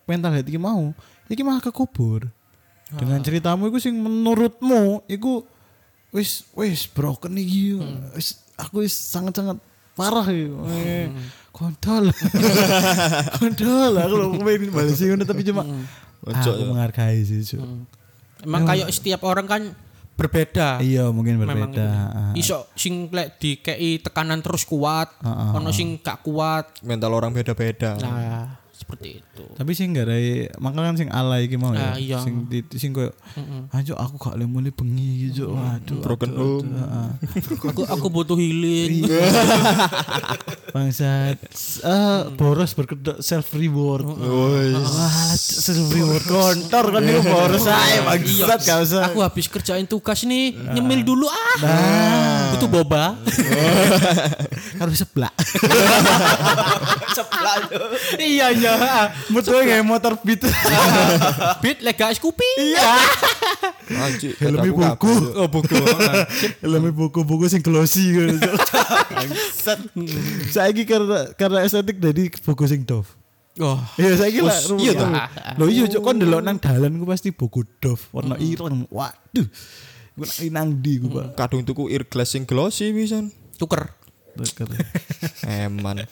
Speaker 1: mental health iki mau. Iki malah kekubur. Dengan ceritamu iku sing menurutmu iku wis wis broken iki.
Speaker 3: Hmm.
Speaker 1: Wis aku wis sangat-sangat parah iki. Eh, Kontol. Kontol aku lo pengen balas sih tapi cuma
Speaker 3: Hmm.
Speaker 4: Ojo,
Speaker 1: aku
Speaker 4: ya.
Speaker 1: menghargai sih. Cuk.
Speaker 3: Emang kayak setiap orang kan berbeda.
Speaker 1: Iya mungkin
Speaker 3: kan Memang
Speaker 1: berbeda. Ah, ah.
Speaker 3: iso sing lek dikei tekanan terus kuat, ono sing gak kuat.
Speaker 4: mental orang beda-beda
Speaker 3: Nah, seperti itu.
Speaker 1: Tapi sih enggak ada makanya kan sing alay iki mau ya.
Speaker 3: Ah, iya.
Speaker 1: Sing di, sing koyo anjo aku gak oleh mulai bengi gitu. Waduh.
Speaker 4: broken
Speaker 1: aduh,
Speaker 4: home
Speaker 1: aduh, ah, ah.
Speaker 3: aku aku butuh healing.
Speaker 1: Iya. Bangsat. Eh, boros berkedok self reward. Wah, self reward kontor kan itu boros ae bangsat gak usah.
Speaker 3: Iya. Aku habis kerjain tugas nih,
Speaker 1: Nah.
Speaker 3: nyemil dulu ah. Butuh boba.
Speaker 1: Harus sebelah.
Speaker 2: ceplak yo.
Speaker 3: iya iya.
Speaker 1: Betul kayak motor beat.
Speaker 3: Beat lek gak Scoopy.
Speaker 4: Anjir,
Speaker 1: Helmi
Speaker 4: aku kabur.
Speaker 1: buku. Oh, buku. Helmi buku-buku sing glossy gitu. Iya. Saiki karena karena estetik jadi buku sing dof.
Speaker 3: Oh,
Speaker 1: Iya, saiki lah.
Speaker 4: Us,
Speaker 1: rumah
Speaker 4: iya
Speaker 1: tangga. Lho iya cok kon delok nang dalan ku pasti buku dof warna ireng. Waduh. Ku nak nang ndi ku, Pak?
Speaker 4: kadung tuku earglass sing glossy pisan
Speaker 3: tuker.
Speaker 4: eman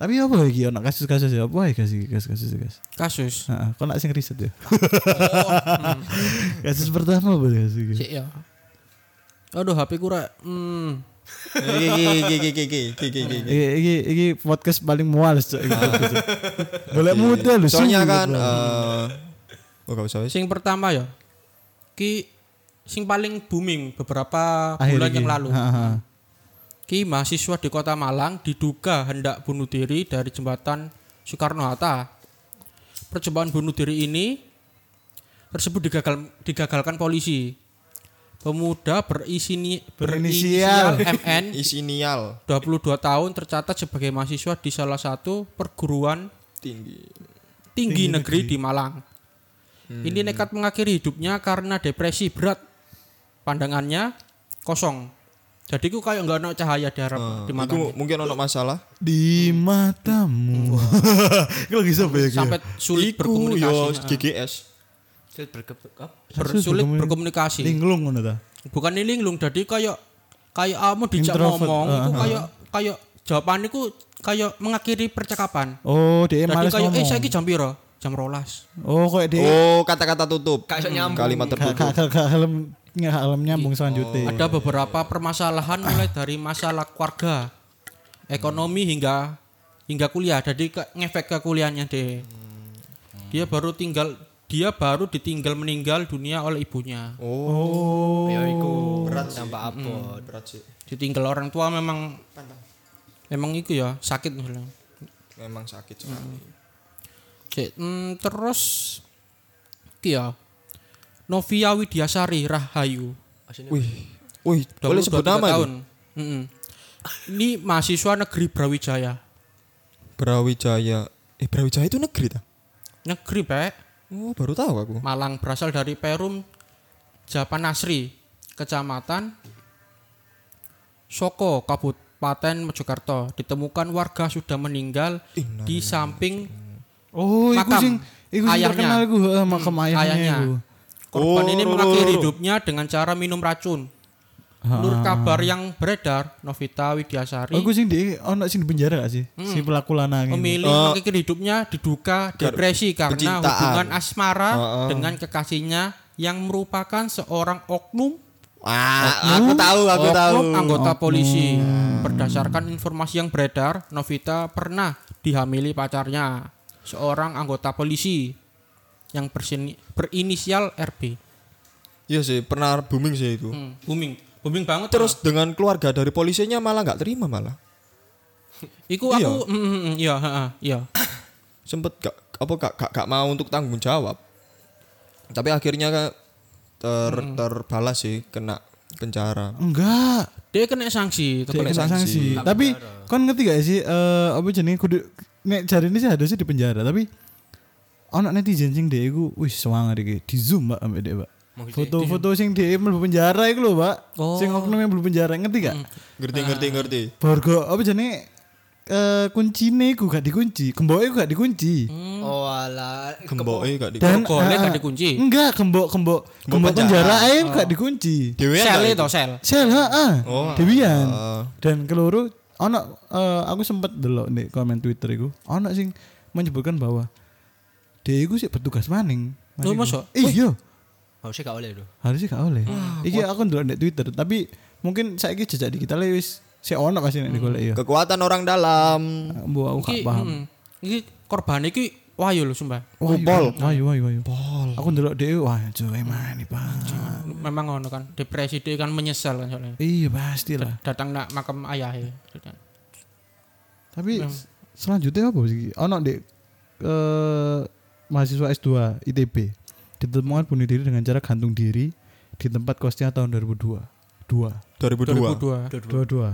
Speaker 1: Tapi apa iki ana kasus-kasus ya? Apa iki kasus kasus-kasus guys?
Speaker 3: Kasus.
Speaker 1: Heeh, kon nak sing riset ya. mm. Kasus pertama apa guys?
Speaker 3: Sik ya. Aduh, HP ku rek. Hmm.
Speaker 1: Iki iki iki podcast paling mualas cok. Iki podcast, Iya, Cok. Golek muda lho. gitu.
Speaker 4: soalnya
Speaker 1: sumpah,
Speaker 4: kan
Speaker 1: Cok.
Speaker 4: eh, oh gak usah wis.
Speaker 3: Sing pertama ya. Ki sing paling booming beberapa
Speaker 1: Akhir
Speaker 3: bulan
Speaker 1: iki.
Speaker 3: yang lalu.
Speaker 1: Ha, ha, ha.
Speaker 3: Ki mahasiswa di Kota Malang diduga hendak bunuh diri dari jembatan Soekarno-Hatta. Percobaan bunuh diri ini tersebut digagal, digagalkan polisi. Pemuda berisini,
Speaker 1: Berinisial.
Speaker 3: MN
Speaker 4: isinial
Speaker 3: 22 tahun tercatat sebagai mahasiswa di salah satu perguruan
Speaker 4: tinggi
Speaker 3: tinggi, negeri, di Malang.
Speaker 1: Hmm.
Speaker 3: Ini nekat mengakhiri hidupnya karena depresi berat. Pandangannya kosong. Jadi ku kayak nggak ada cahaya di harap
Speaker 1: Ah,
Speaker 3: di mata.
Speaker 4: Iku mungkin ono masalah
Speaker 1: Di matamu. Iku lagi sapa ya? Ki?
Speaker 3: Sampai sulit
Speaker 4: iku yo
Speaker 3: berkomunikasi.
Speaker 4: GGS
Speaker 2: Sulit berkepek.
Speaker 3: Ber-
Speaker 1: Sulit
Speaker 3: sulit
Speaker 1: berkomunikasi.
Speaker 3: berkomunikasi.
Speaker 1: Linglung ngono ta.
Speaker 3: Bukan ini linglung. Jadi kayak kayak kamu dijak
Speaker 1: Introvert.
Speaker 3: ngomong,
Speaker 1: Ah,
Speaker 3: itu
Speaker 1: ah.
Speaker 3: kayak kayak jawabannya ku kayak mengakhiri percakapan.
Speaker 1: Oh, dia
Speaker 3: Jadi
Speaker 1: males
Speaker 3: kayak eh
Speaker 1: ngomong.
Speaker 3: saiki jam piro? jam rolas.
Speaker 1: Oh, kok dia
Speaker 4: Oh, kata-kata tutup. Hmm,
Speaker 2: Gak iso nyambung.
Speaker 4: Kalimat
Speaker 1: gak
Speaker 4: tertutup.
Speaker 1: gak gak gak helm nggak helm
Speaker 3: Iya.
Speaker 1: nyambung selanjutnya.
Speaker 3: Ada beberapa permasalahan mulai dari masalah keluarga, ekonomi hingga hingga kuliah. Jadi ke, ngefek ke kuliahnya deh. Dia baru tinggal dia baru ditinggal meninggal dunia oleh ibunya.
Speaker 1: Oh, Hmm.
Speaker 2: Ya iku berat tambah abot.
Speaker 4: Berat sih.
Speaker 3: Ditinggal orang tua memang memang itu ya sakit misalnya.
Speaker 4: Memang sakit sekali.
Speaker 3: Cek, hmm, terus iki ya. Novia Widiasari Rahayu.
Speaker 2: Aslinya
Speaker 4: Wih. Wih, boleh sebut
Speaker 3: 23
Speaker 4: nama
Speaker 3: tahun.
Speaker 4: itu?
Speaker 3: Mm-mm. Ini mahasiswa negeri Brawijaya.
Speaker 4: Brawijaya. Eh, Brawijaya itu negeri ta?
Speaker 3: Negeri, Pak.
Speaker 4: Oh, baru tahu aku.
Speaker 3: Malang berasal dari Perum Japanasri, Kecamatan Soko, Kabupaten Mojokerto. Ditemukan warga sudah meninggal di samping
Speaker 1: oh, iku
Speaker 3: Makam.
Speaker 1: sing iku sing
Speaker 3: Ayahnya.
Speaker 1: terkenal iku, heeh, makam ayahnya
Speaker 3: ayahnya.
Speaker 1: iku.
Speaker 4: Oh,
Speaker 3: korban ini
Speaker 4: ro, ro, ro,
Speaker 3: mengakhiri
Speaker 4: ro.
Speaker 3: hidupnya dengan cara minum racun. Menurut kabar yang beredar, Novita Widiasari
Speaker 1: Oh, iku sing di ono sing di penjara gak sih? Si
Speaker 3: Hmm.
Speaker 1: pelaku lanang iku.
Speaker 3: memilih
Speaker 4: Eh,
Speaker 3: mengakhiri hidupnya diduga depresi karena
Speaker 4: kecintaan.
Speaker 3: hubungan asmara
Speaker 4: Heeh.
Speaker 3: dengan kekasihnya yang merupakan seorang oknum
Speaker 4: Ah, oh, aku tahu, aku tahu.
Speaker 3: oknum anggota
Speaker 1: Hmm.
Speaker 3: polisi. Berdasarkan informasi yang beredar, Novita pernah dihamili pacarnya, seorang anggota polisi yang bersini- berinisial RB.
Speaker 4: Iya sih, pernah booming sih itu.
Speaker 3: Hmm, booming, booming banget.
Speaker 4: Terus dengan keluarga dari polisinya malah nggak terima malah.
Speaker 3: Iku
Speaker 4: Iya.
Speaker 3: aku, mm, mm, mm, iya, heeh, iya.
Speaker 4: Sempet gak apa gak, gak, gak mau untuk tanggung jawab. Tapi akhirnya kan ter, terbalas sih kena penjara.
Speaker 1: Enggak.
Speaker 3: Dia kena sanksi.
Speaker 1: Dia
Speaker 3: tetep.
Speaker 4: Kena
Speaker 1: kena
Speaker 4: sanksi.
Speaker 1: sanksi. Tapi kon ngerti gak sih eh apa jenenge kudu nek jari ini sih harusnya di penjara tapi ono netizen sing dhek iku wih semangat iki di zoom Mbak ambek dhek Mbak. Foto-foto sing dhek mlebu penjara iku lho Mbak. Sing oknum yang mlebu penjara ngerti gak?
Speaker 4: Ngerti, ngerti, ngerti.
Speaker 1: Borgo apa jenenge eh kuncine iku gak dikunci, gemboke iku gak dikunci.
Speaker 2: Oh ala.
Speaker 4: Gemboknya gak di.
Speaker 1: Dan
Speaker 3: Borgolnya
Speaker 1: eh,
Speaker 3: gak
Speaker 1: eh,
Speaker 3: dikunci?
Speaker 1: Enggak, gembok gembok gembok penjara ae gak dikunci.
Speaker 4: Dewean
Speaker 3: Sel
Speaker 4: gak
Speaker 3: itu sel.
Speaker 1: Sel heeh.
Speaker 4: Oh,
Speaker 1: Dewian.
Speaker 4: eh.
Speaker 1: Dan keluru ono eh, aku sempat delok nih komen Twitter iku. Ono sing menyebutkan bahwa dia iku sih petugas maning.
Speaker 3: Loh, masa?
Speaker 1: Iya,
Speaker 2: Harusnya gak oleh lho.
Speaker 1: harusnya gak oleh. Iki aku ndelok di Twitter, tapi mungkin saiki jejak digital wis si ono pasti nek digolek ya.
Speaker 4: Kekuatan orang dalam.
Speaker 1: Mbok aku gak
Speaker 3: Iki,
Speaker 1: paham.
Speaker 3: mm, Iki korban iki wahyu lho sumpah.
Speaker 1: Pol. Ayo ayo ayo. Aku ndelok dhewe wah cuy mani Pak.
Speaker 3: Memang ngono kan, depresi dia kan menyesal kan soalnya.
Speaker 1: Iya pastilah.
Speaker 3: Datang nak e. makam ayahnya.
Speaker 1: Tapi selanjutnya apa sih? Ono di eh, mahasiswa S2 ITB ditemukan bunuh diri dengan cara gantung diri di tempat kosnya tahun 2002. Dua.
Speaker 4: 2002.
Speaker 3: 2002.
Speaker 1: Dua-dua.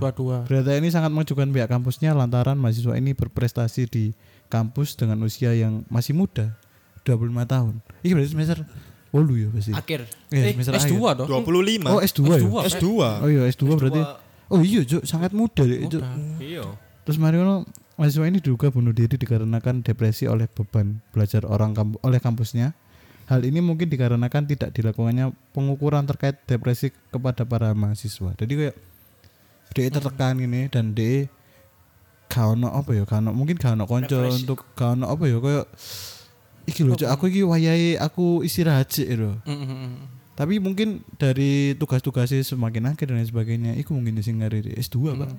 Speaker 3: 22.
Speaker 1: Berita ini sangat mengajukan pihak kampusnya lantaran mahasiswa ini berprestasi di kampus dengan usia yang masih muda, 25 tahun. Ini berarti semester 8 ya pasti.
Speaker 2: Akhir.
Speaker 1: Iya,
Speaker 3: Eh,
Speaker 1: semester
Speaker 3: S2
Speaker 1: akhir.
Speaker 3: toh.
Speaker 4: 25.
Speaker 1: Oh, S2,
Speaker 3: S2.
Speaker 1: ya.
Speaker 4: S2.
Speaker 1: Oh iya, S2, berarti. Oh iya, Cuk, sangat muda, Cuk.
Speaker 3: Nah.
Speaker 2: Iya.
Speaker 1: Terus Mariono mahasiswa ini diduga bunuh diri dikarenakan depresi oleh beban belajar orang kamp- oleh kampusnya. Hal ini mungkin dikarenakan tidak dilakukannya pengukuran terkait depresi kepada para mahasiswa. Jadi kayak DE tertekan ini dan DE gak ono apa ya, gak ono- mungkin gak ono konco untuk gak ono apa ya kayak iki lho Cuk, aku iki wayahe aku istirahat sih lho.
Speaker 3: Mm, mm, mm.
Speaker 1: Tapi mungkin dari tugas-tugasnya semakin akhir dan lain sebagainya, iku mungkin sing ngari S2, Pak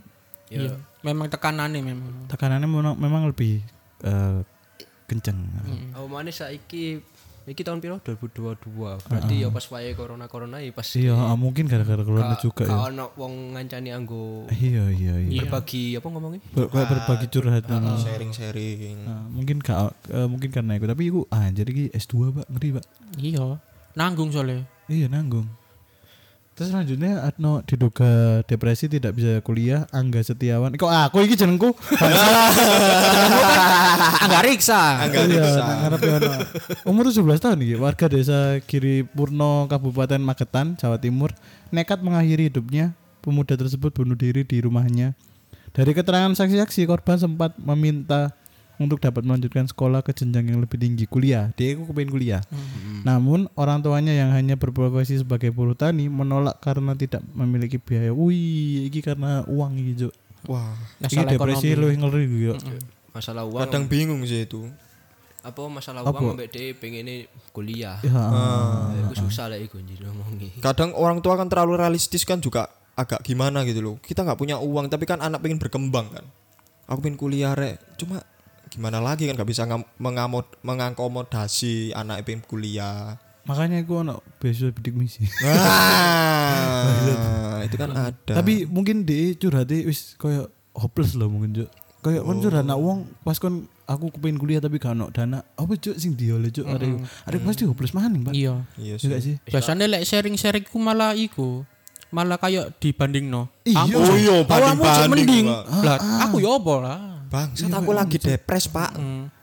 Speaker 3: Iya. Memang tekanannya memang.
Speaker 1: tekanannya memang, memang lebih eh, kenceng.
Speaker 2: Oh mana saiki iki tahun piro 2022. Berarti ya pas wae corona-corona ya pas
Speaker 1: Ah. Iya, ah, mungkin gara-gara corona
Speaker 2: Ka-
Speaker 1: juga
Speaker 2: ka
Speaker 1: ya.
Speaker 2: ono wong ngancani anggo
Speaker 1: Iya, iya, iya. Ah,
Speaker 2: berbagi apa ngomongnya?
Speaker 1: Ber- kayak berbagi curhat nah.
Speaker 4: Sharing-sharing.
Speaker 1: Nah, mungkin gak, eh, mungkin karena itu tapi iku ah jadi iki S2 Pak ngeri Pak
Speaker 3: Iya. Nanggung soalnya.
Speaker 1: iya nanggung terus selanjutnya Adno diduga depresi tidak bisa kuliah Angga Setiawan kok aku iki jenengku
Speaker 3: Angga Riksa.
Speaker 4: Enggak
Speaker 1: Iya,
Speaker 4: bisa.
Speaker 1: nang ngarep ya, no. Umur 17 tahun nih, warga desa Kiri Purno, Kabupaten Magetan, Jawa Timur, nekat mengakhiri hidupnya. Pemuda tersebut bunuh diri di rumahnya. Dari keterangan saksi-saksi, korban sempat meminta untuk dapat melanjutkan sekolah ke jenjang yang lebih tinggi kuliah. Dia aku kepengin kuliah.
Speaker 3: Hmm.
Speaker 1: Namun orang tuanya yang hanya berprofesi sebagai buruh tani menolak karena tidak memiliki biaya. Wih, ini karena uang gitu.
Speaker 4: Wah,
Speaker 1: Ini
Speaker 3: Masalah
Speaker 1: depresi
Speaker 3: ekonomi. Hmm.
Speaker 1: lu ngeri gitu.
Speaker 2: Masalah uang.
Speaker 1: Iya.
Speaker 4: kadang bingung sih itu.
Speaker 2: apa masalah uang ambek dhek pengene kuliah.
Speaker 3: Eh,
Speaker 1: Ah.
Speaker 2: Ya, Iku susah lah iku anjir ngomongi.
Speaker 4: kadang orang tua kan terlalu realistis kan juga agak gimana gitu loh kita nggak punya uang tapi kan anak pengen berkembang kan aku pengen kuliah rek cuma gimana lagi kan nggak bisa ngam- mengamod mengakomodasi anak pengen kuliah
Speaker 1: Makanya gue ono besok bidik misi.
Speaker 4: Wah, itu kan ada
Speaker 1: Tapi mungkin di curhati wis koyo hopeless loh mungkin Cuk. Kayak
Speaker 3: Oh.
Speaker 1: kan curhat nak wong pas kon aku kepengin kuliah tapi gak ono dana. Apa Cuk sing dioleh Cuk arek arek pasti hopeless maning, Pak.
Speaker 3: Iya.
Speaker 1: Iya
Speaker 4: iya sih
Speaker 1: gak sih?
Speaker 3: Biasanya lek sharing-sharing ku malah iku. Malah kayak dibanding no.
Speaker 1: Iya.
Speaker 4: Oh iya,
Speaker 3: Awakmu cek
Speaker 4: banding-banding,
Speaker 3: mending.
Speaker 4: Pak.
Speaker 3: Lah, aku ya apa lah. Hmm.
Speaker 4: bangsat
Speaker 1: Iya,
Speaker 4: aku lagi depres pak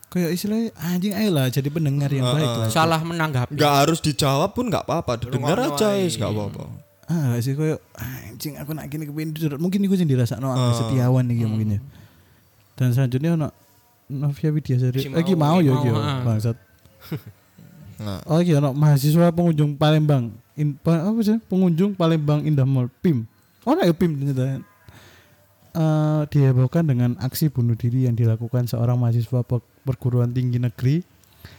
Speaker 1: Kayak istilahnya anjing ayolah jadi pendengar
Speaker 4: Ah,
Speaker 1: yang baik lah.
Speaker 3: Salah menanggapi.
Speaker 4: nggak harus dijawab pun nggak apa-apa dengar aja is nggak apa-apa
Speaker 1: Ah gak sih koyo anjing aku nak gini kepengin curhat. Mungkin iku sing dirasakno
Speaker 4: Ah.
Speaker 1: Angga setiawan iki mungkin
Speaker 3: Mm.
Speaker 1: ya. Dan selanjutnya ono Novia Widya Sari.
Speaker 2: Si
Speaker 1: Eh, Iki mau ya iki. ya.
Speaker 3: Mau, ah.
Speaker 1: Bangsat.
Speaker 4: nah
Speaker 1: Oh iya, no, mahasiswa pengunjung Palembang. In, pa- apa sih? Pengunjung Palembang Indah Mall PIM. Oh, no, ya PIM ternyata. Eh, dihebohkan dengan aksi bunuh diri yang dilakukan seorang mahasiswa pe- perguruan tinggi negeri.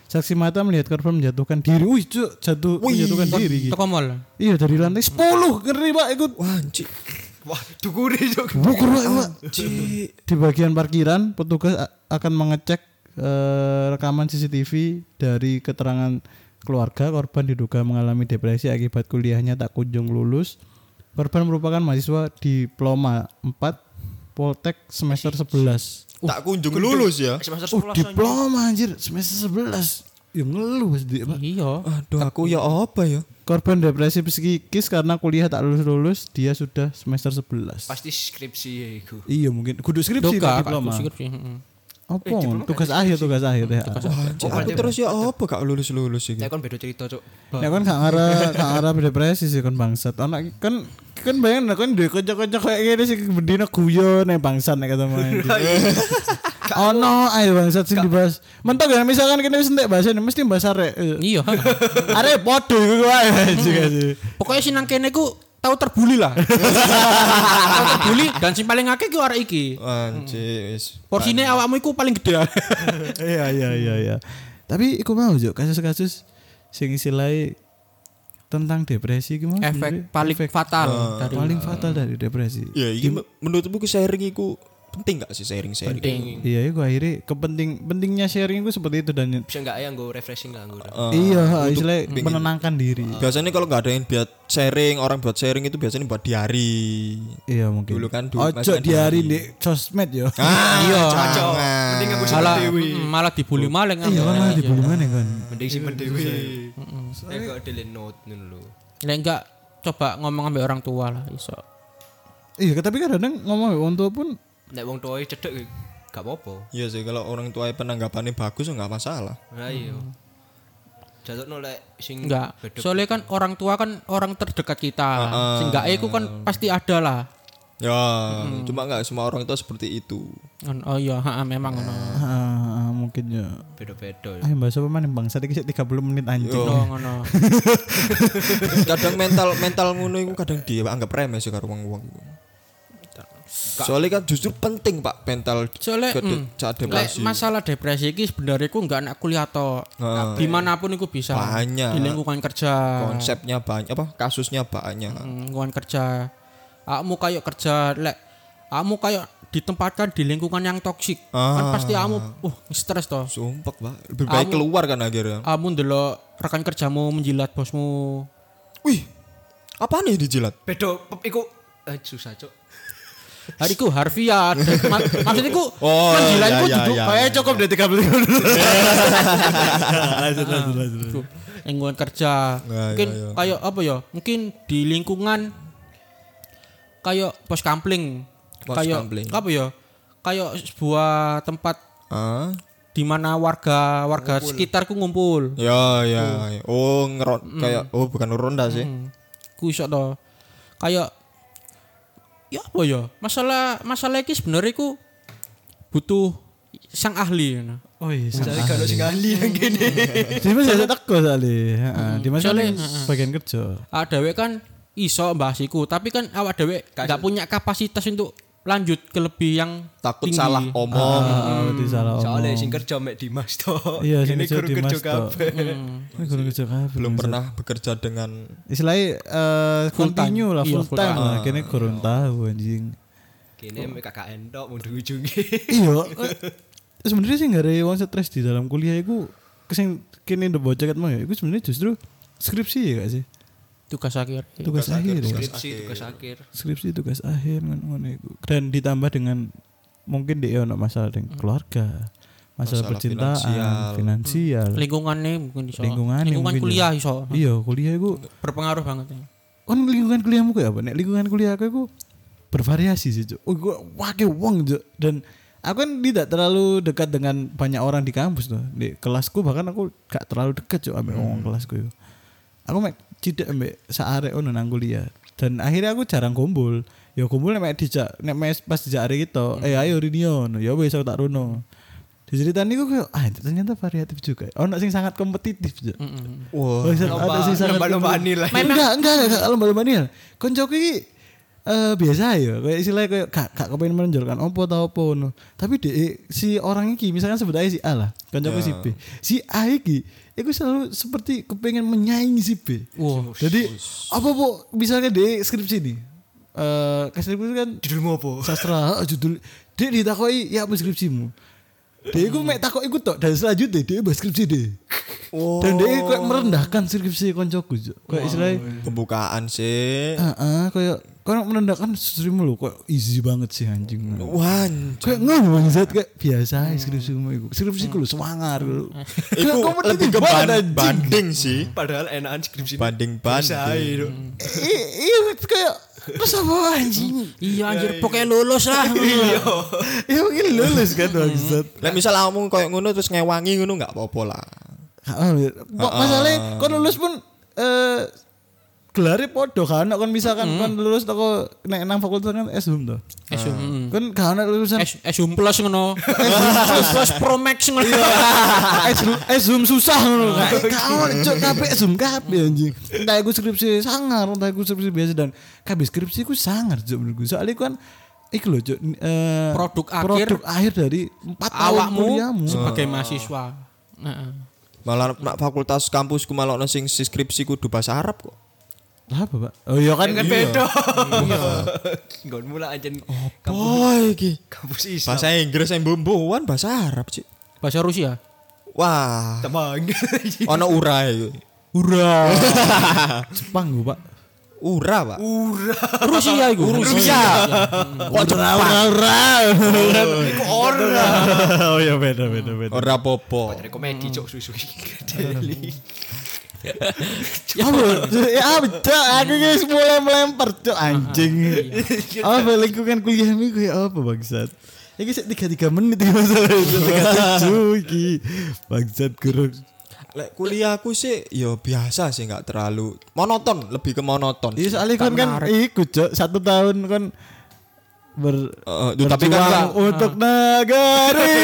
Speaker 1: Saksi mata melihat korban menjatuhkan diri. Wih, cuk, jatuh menjatuhkan diri. iki.
Speaker 3: Teko mall.
Speaker 1: Iya, dari lantai 10. Ngeri, Pak, ikut.
Speaker 4: wah anjir
Speaker 2: Wah, dukure juk.
Speaker 1: Bukur, Pak, Pak.
Speaker 4: Anjir.
Speaker 1: Di bagian parkiran, petugas a- akan mengecek eh, rekaman CCTV dari keterangan keluarga korban diduga mengalami depresi akibat kuliahnya tak kunjung lulus. Korban merupakan mahasiswa diploma 4 Poltek semester 11.
Speaker 4: tak kunjung lulus ya
Speaker 2: Semester
Speaker 1: Uh,
Speaker 2: 11 anjir.
Speaker 1: diploma anjir, semester 11. Ya ngeluh Mas, Dik, Pak.
Speaker 3: Iya.
Speaker 4: aduh aku ya apa ya
Speaker 1: Korban depresi psikis karena kuliah tak lulus-lulus, dia sudah semester 11.
Speaker 2: Pasti skripsi ya iku.
Speaker 1: Iya mungkin kudu skripsi
Speaker 3: Duka,
Speaker 1: Pak,
Speaker 3: Kak. Hmm,
Speaker 1: diploma. Eh,
Speaker 3: Sikut sih, heeh.
Speaker 1: Apa? tugas akhir, tugas akhir ya.
Speaker 4: Cik, aku terus ya apa gak lulus lulus iki?
Speaker 2: Nek kon beda cerita, Cuk.
Speaker 1: Ya kan gak ngara gak ngara depresi sih kan bangsat. Anak kan kan bayangin lah, kan duwe kanca-kanca kayak gini sih bendina guyon nek bangsat nek ketemu. iya. Oh no, ayo bangsat sing dibahas. Mentok ya misalkan kene wis entek bahasane mesti bahas arek. eh.
Speaker 3: Iya.
Speaker 1: Arek podo iku wae juga sih.
Speaker 3: Pokoknya si nang kene ku tahu terbuli lah. tahu terbuli dan si paling akeh ku arek iki.
Speaker 4: Anjir, wis.
Speaker 3: Porsine awakmu iku paling gede.
Speaker 1: Iya iya iya iya. Tapi iku mau juk kasus-kasus sing istilahnya tentang depresi gimana?
Speaker 3: Efek Oh. paling fatal dari
Speaker 1: paling fatal dari depresi.
Speaker 4: Ya, iki me- menurutmu ku sharing iku penting gak sih sharing-sharing?
Speaker 1: Iya, iku akhirnya kepenting pentingnya sharing iku seperti itu dan
Speaker 2: Bisa enggak ya nggo refreshing
Speaker 1: Ah,
Speaker 2: lah nggo.
Speaker 1: iya, istilahnya menenangkan diri.
Speaker 2: Ah.
Speaker 4: Biasanya kalau nggak ada yang buat sharing, orang buat sharing itu biasanya buat diari.
Speaker 1: Iya mungkin.
Speaker 4: Dulu kan dulu
Speaker 1: Ojo
Speaker 4: masih kan
Speaker 1: di hari di sosmed yo.
Speaker 4: Ah, iya,
Speaker 2: Mending aku simpen
Speaker 3: malah
Speaker 2: dewe.
Speaker 3: malah dibully maling
Speaker 1: Iya
Speaker 3: kan.
Speaker 1: malah di bulungan ya kan.
Speaker 2: Mending simpen dewe. Nek kok delete note ngono lho.
Speaker 3: Nek enggak coba ngomong ambil orang tua lah iso.
Speaker 1: Iya, tapi kadang ngomong wong tua pun
Speaker 2: Nek wong tuae cedhek gak apa-apa.
Speaker 4: Iya sih, kalau orang tua penanggapannya bagus nggak masalah.
Speaker 2: Nah iya. Jatuhno lek sing
Speaker 3: Enggak.
Speaker 2: beda.
Speaker 3: Soalnya kan orang tua kan orang terdekat kita. Sehingga aku kan pasti ada lah.
Speaker 4: Ya, cuma nggak semua orang tua seperti itu.
Speaker 3: Ngono- Oh iya, ha, ha, memang ngono.
Speaker 1: ah, ah, mungkin ya.
Speaker 2: Beda-beda. ya.
Speaker 1: Ayo bahas apa maning bangsa iki sik 30 menit anjing.
Speaker 4: Ya.
Speaker 3: Ngono, ngono.
Speaker 4: kadang mental mental ngono itu kadang dianggap remeh sih karo wong-wong iku. Soalnya kan justru penting Pak mental
Speaker 3: Soalnya
Speaker 4: ke-
Speaker 3: mm,
Speaker 4: saat
Speaker 3: lek
Speaker 4: depresi.
Speaker 3: masalah depresi iki sebenarnya aku enggak anak kuliah tok.
Speaker 4: Heeh.
Speaker 3: Dimanapun aku bisa.
Speaker 4: Banyak.
Speaker 3: Di lingkungan kerja.
Speaker 4: Konsepnya banyak apa? Kasusnya banyak.
Speaker 3: Mm, lingkungan kerja. Kamu kayak kerja lek kamu kayak ditempatkan di lingkungan yang toksik. Kan
Speaker 4: Ah.
Speaker 3: pasti kamu uh stres toh.
Speaker 4: Sumpah, Pak. Lebih baik keluar kan akhirnya.
Speaker 3: Kamu ndelok rekan kerjamu menjilat bosmu.
Speaker 4: Wih. Apa nih dijilat?
Speaker 2: Beda pep- iku eh, susah, Cuk.
Speaker 3: Hari ku harfiah. Ma- maksudnya ku
Speaker 4: Oh,
Speaker 3: menjilat
Speaker 4: iya,
Speaker 3: ku
Speaker 4: iya,
Speaker 3: duduk
Speaker 4: iya,
Speaker 3: kayak
Speaker 1: Eh cukup deh 30 menit.
Speaker 3: Ah,
Speaker 1: Lanjut lanjut lanjut.
Speaker 3: Tuh, lingkungan kerja.
Speaker 4: Iya,
Speaker 3: mungkin
Speaker 4: iya, iya.
Speaker 3: kayak apa ya? Mungkin di lingkungan kayak pos kampling.
Speaker 4: Pos
Speaker 3: kayak
Speaker 4: kampling.
Speaker 3: apa ya? Kayak sebuah tempat
Speaker 4: Ah.
Speaker 3: di mana warga warga sekitarku ngumpul.
Speaker 4: Ya, ya. ya. Oh, ngerot kayak oh bukan ronda sih.
Speaker 3: ku iso to kayak ya apa ya masalah masalah iki sebenarnya ku butuh sang ahli ngono.
Speaker 1: Oh iya,
Speaker 2: Cari kalau sing ahli Hmm. nang kene.
Speaker 1: Dimas ya teko sale. Heeh, Dimas kan bagian kerja.
Speaker 3: awak dhewe kan iso bahas iku tapi kan awak dhewe nggak punya kapasitas untuk lanjut ke lebih yang
Speaker 4: takut
Speaker 3: tinggi.
Speaker 4: salah omong
Speaker 1: Ah, berarti salah omong.
Speaker 2: Hmm. Soalnya sing kerja mek Dimas to.
Speaker 1: Iya, sing
Speaker 2: Ini
Speaker 1: kerja
Speaker 2: guru
Speaker 1: Dimas
Speaker 2: kerja
Speaker 1: tok.
Speaker 2: kabeh.
Speaker 1: Ini guru kerja kabeh.
Speaker 4: belum pernah bekerja dengan
Speaker 1: Istilahnya eh,
Speaker 3: Full time.
Speaker 1: continue lah
Speaker 3: Iya,
Speaker 1: full
Speaker 3: full
Speaker 1: time
Speaker 4: time.
Speaker 2: Ah.
Speaker 1: lah. Kini kurang tahu anjing.
Speaker 2: Kene mek KKN tok mung diujungi.
Speaker 1: Iya. eh, Sebenarnya sih nggak ada yang stres di dalam kuliah. Iku kesing kini udah bocah mau ya. Iku sebenarnya justru skripsi ya gak sih?
Speaker 3: Iya. tugas akhir.
Speaker 1: Tugas, akhir, ya.
Speaker 2: Skripsi tugas akhir.
Speaker 1: skripsi tugas akhir ngono- ngono iku. dan ditambah dengan mungkin dia ono masalah dengan
Speaker 3: Hmm.
Speaker 1: keluarga masalah,
Speaker 4: Masalah
Speaker 1: percintaan finansial,
Speaker 3: Lingkungannya mungkin iso.
Speaker 1: lingkungan
Speaker 3: Hmm. Lingkungan
Speaker 1: mungkin
Speaker 3: kuliah
Speaker 1: ya.
Speaker 3: iso. Hmm.
Speaker 1: iya kuliah iku
Speaker 3: Berpengaruh banget ya.
Speaker 1: kan lingkungan kuliahmu kayak apa nek lingkungan kuliah aku iku bervariasi sih Cuk. oh gue wake wong Cuk. dan aku kan tidak terlalu dekat dengan banyak orang di kampus tuh di kelasku bahkan aku gak terlalu dekat Cuk, ambil orang kelasku yo. aku mek cidak ambek saarek ono nang kuliah dan akhirnya aku jarang kumpul ya kumpul nek mek dijak nek mek pas dijak hari gitu eh ayo Rinion ya wis aku tak runo diceritani aku kayak ah ternyata variatif juga ono sing sangat kompetitif Cuk. Oh,
Speaker 4: wah
Speaker 1: ada- ada sisa kebetulan.
Speaker 2: lomba-lombaan nilai.
Speaker 1: Enggak, enggak, enggak, lomba-lomba nilai. Koncoku iki eh, biasa ya, kayak istilahnya kayak gak gak kepengin menonjolkan opo ta opo ngono. Tapi de, si orang iki misalkan sebut aja si A lah, koncoku si B. Si A iki iku selalu seperti kepengin menyaingi si B.
Speaker 3: Wah.
Speaker 1: Jadi apa po misalnya de skripsi nih. Eh, skripsi kan
Speaker 2: Judulmu apa?
Speaker 1: sastra ah, judul dia ditakoi ya apa skripsimu dia itu mek takoi ikut tok dan selanjutnya dia bahas skripsi deh
Speaker 4: Oh.
Speaker 1: dan dia kayak merendahkan skripsi koncoku Cuk. kayak istilahnya
Speaker 4: pembukaan sih
Speaker 1: ah ah, kayak kayak merendahkan skripsimu lo kayak easy banget sih anjing
Speaker 4: wan
Speaker 1: kayak ngomong zat kayak biasa skripsi itu skripsi ku lo semangat lo
Speaker 4: itu lebih ke ban- banding sih
Speaker 2: Padahal enakan skripsi.
Speaker 4: banding
Speaker 2: Usaha,
Speaker 4: banding
Speaker 2: Dok.
Speaker 1: iya kayak terus apa anjing
Speaker 3: Iya anjir pokoknya lulus lah.
Speaker 4: Iya,
Speaker 1: ya mungkin lulus kan bangsat
Speaker 4: lah misal kamu kayak ngono terus ngewangi ngono nggak apa-apa lah
Speaker 1: Ah, ah, Kok masalahnya kon lulus pun eh gelarnya podo kan nek kon misalkan kon lulus toko nek nang fakultas kan SHUM to.
Speaker 3: Esum. mm.
Speaker 1: Kon gak ana lulusan
Speaker 3: Es- Esum plus Eh, ngono. Esum plus pro max ngono.
Speaker 1: Iya. SHUM- SHUM susah ngono
Speaker 3: Nah,
Speaker 1: kan. Gak ono cuk kabeh SHUM kabeh anjing. Entah iku skripsi sangar, entah iku skripsi biasa dan kabeh skripsi iku sangar cuk menurutku. Soalnya kan iku lho cuk eh,
Speaker 3: Produk akhir-
Speaker 1: produk akhir dari 4 tahun kuliahmu.
Speaker 3: Awakmu sebagai mahasiswa. Heeh.
Speaker 4: malah nak fakultas kampusku malah ono sing si skripsi kudu bahasa Arab kok
Speaker 1: Lah apa, Pak? Oh iya kan
Speaker 2: Kan beda. Nggon mula anjen
Speaker 4: boy iki
Speaker 2: kampus Islam.
Speaker 4: bahasa Inggris yang bumbuan bahasa Arab sih
Speaker 3: Bahasa Rusia.
Speaker 4: wah
Speaker 2: Temang.
Speaker 4: ono ura e, itu
Speaker 1: Ura. Jepang gua, Pak.
Speaker 4: ura pak
Speaker 3: Rusia iku.
Speaker 4: Rusia
Speaker 1: Kok ora ora ora.
Speaker 2: Iku ora.
Speaker 1: Oh ya beda beda beda.
Speaker 4: ora popo
Speaker 2: Dari komedi cok susu Deli.
Speaker 1: Ya ya betul. Aku guys mulai melempar cok anjing. Apa lingkungan kuliah minggu ya apa bangsat? Ini sih tiga tiga menit ya masalah itu tiga tujuh iki bangsat guru.
Speaker 4: Lek kuliahku sih ya biasa sih nggak terlalu monoton, lebih ke monoton.
Speaker 1: Iya soalnya kan kan ikut cok satu tahun kan ber
Speaker 4: Eh, eh, tapi kan
Speaker 1: berjuang untuk nagari.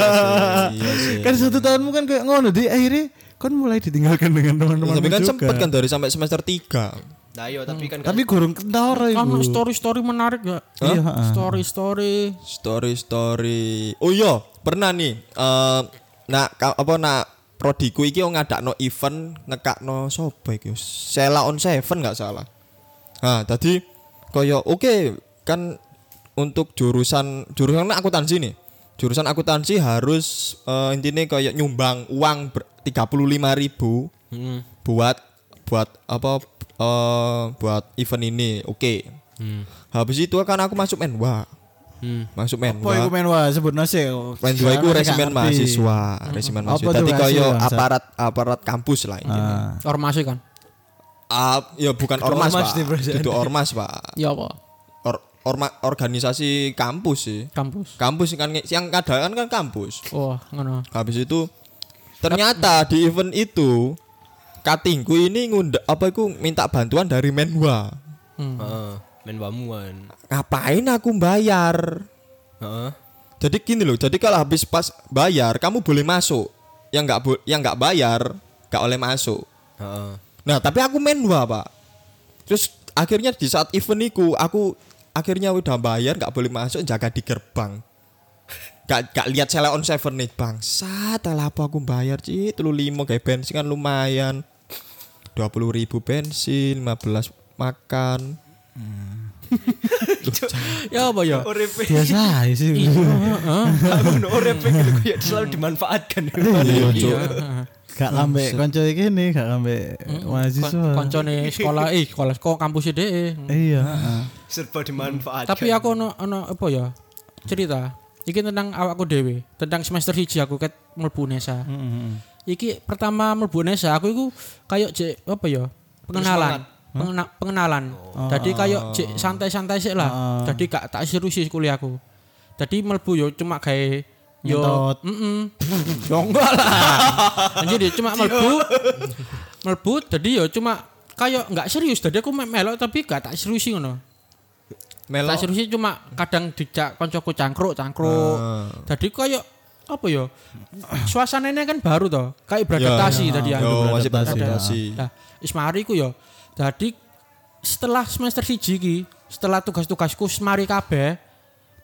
Speaker 4: iya sih.
Speaker 1: kan satu tahunmu kan kayak ngono di akhirnya kan mulai ditinggalkan dengan teman-teman
Speaker 4: tapi kan
Speaker 1: juga.
Speaker 4: sempet kan dari sampai semester 3.
Speaker 2: Nah yo tapi kan
Speaker 1: tapi gurung kentor
Speaker 3: Kamu
Speaker 1: ibu
Speaker 3: Kan story-story menarik gak?
Speaker 1: Iya, heeh.
Speaker 3: Story-story.
Speaker 4: Story story. Oh iya, pernah nih eh nak ka- apa nak prodiku iki ngadakno event ngekakno sapa iki? Sela on Seven nggak salah. Nah, tadi koyo oke kan untuk jurusan jurusan akuntansi nih. Jurusan akuntansi harus eh, intinya kayak nyumbang uang tiga puluh ribu buat buat apa eh, buat event ini. Oke. Habis itu kan aku masuk menwa.
Speaker 2: Hmm.
Speaker 4: Masuk
Speaker 1: Apa iku
Speaker 4: menwa.
Speaker 1: men wah oh, sebut nasi
Speaker 4: Menwa
Speaker 1: kan
Speaker 4: itu resimen mahasiswa, resimen
Speaker 1: Apa
Speaker 4: mahasiswa.
Speaker 1: tuh
Speaker 4: Tadi
Speaker 1: mahasiswa, Ah.
Speaker 4: koyo
Speaker 1: Bang?
Speaker 4: aparat aparat kampus lah intinya.
Speaker 3: Ormasi kan?
Speaker 4: Ah, ya bukan
Speaker 2: Ketua
Speaker 4: ormas,
Speaker 2: ormas
Speaker 4: Pak.
Speaker 2: nih, perasaan.
Speaker 4: Itu ormas, Pak.
Speaker 3: Ya apa?
Speaker 4: or, orma- organisasi kampus sih.
Speaker 3: Kampus.
Speaker 4: Kampus kan yang kadang kan kampus.
Speaker 3: Wah, ngono.
Speaker 4: Habis itu ternyata di event itu katingku ini ngunda apa iku minta bantuan dari Menwa.
Speaker 2: Heeh. Mm-hmm. Men wamuan.
Speaker 4: Ngapain aku bayar?
Speaker 2: Heeh.
Speaker 4: Jadi gini loh, jadi kalau habis pas bayar kamu boleh masuk. Yang nggak bo- yang nggak bayar nggak oleh masuk.
Speaker 2: Heeh.
Speaker 4: Nah, tapi aku Menwa, Pak. Terus akhirnya di saat event iku aku akhirnya udah bayar nggak boleh masuk jaga di gerbang gak, gak lihat sale on seven nih bangsat lah apa aku bayar sih telu limo kayak bensin kan lumayan 20.000 ribu bensin 15 makan
Speaker 3: Ya
Speaker 2: iya?
Speaker 3: apa ya?
Speaker 2: Urip
Speaker 1: biasa aja sih
Speaker 3: Iya,
Speaker 2: ngono urip iki lho koyo selalu dimanfaatkan.
Speaker 1: gak lambe konco iki nih gak lambe mahasiswa
Speaker 3: Koncone sekolah eh sekolah kok kampus dhewe.
Speaker 1: iya heeh.
Speaker 2: Serba dimanfaatkan.
Speaker 3: Tapi aku ono ono apa ya? Cerita. Iki tentang awakku dhewe, tentang semester siji aku ket mlebu Nesa. Iki pertama mlebu Nesa aku iku kayak jek apa ya? Pengenalan. Pengena- pengenalan. Jadi kayak jek santai-santai sik lah. Jadi gak tak serius kuliahku. Jadi mlebu yo cuma kayak Yo,
Speaker 1: Ngentot.
Speaker 3: mm yo enggak lah. Anjir ya cuma mlebu. mlebu jadi yo cuma kayak nggak serius. Jadi aku me- melok tapi gak tak serius ngono.
Speaker 4: melo
Speaker 3: Tak serius cuma kadang dijak koncoku cangkruk,
Speaker 4: Ah.
Speaker 3: cangkruk. Jadi kayak apa ya? Suasananya kan baru toh, kayak beradaptasi tadi ya.
Speaker 4: Iya, yo masih
Speaker 1: beradaptasi.
Speaker 4: beradaptasi
Speaker 3: Nah, Ismari ku ya. Jadi setelah semester siji ki, setelah tugas-tugasku semari kabeh,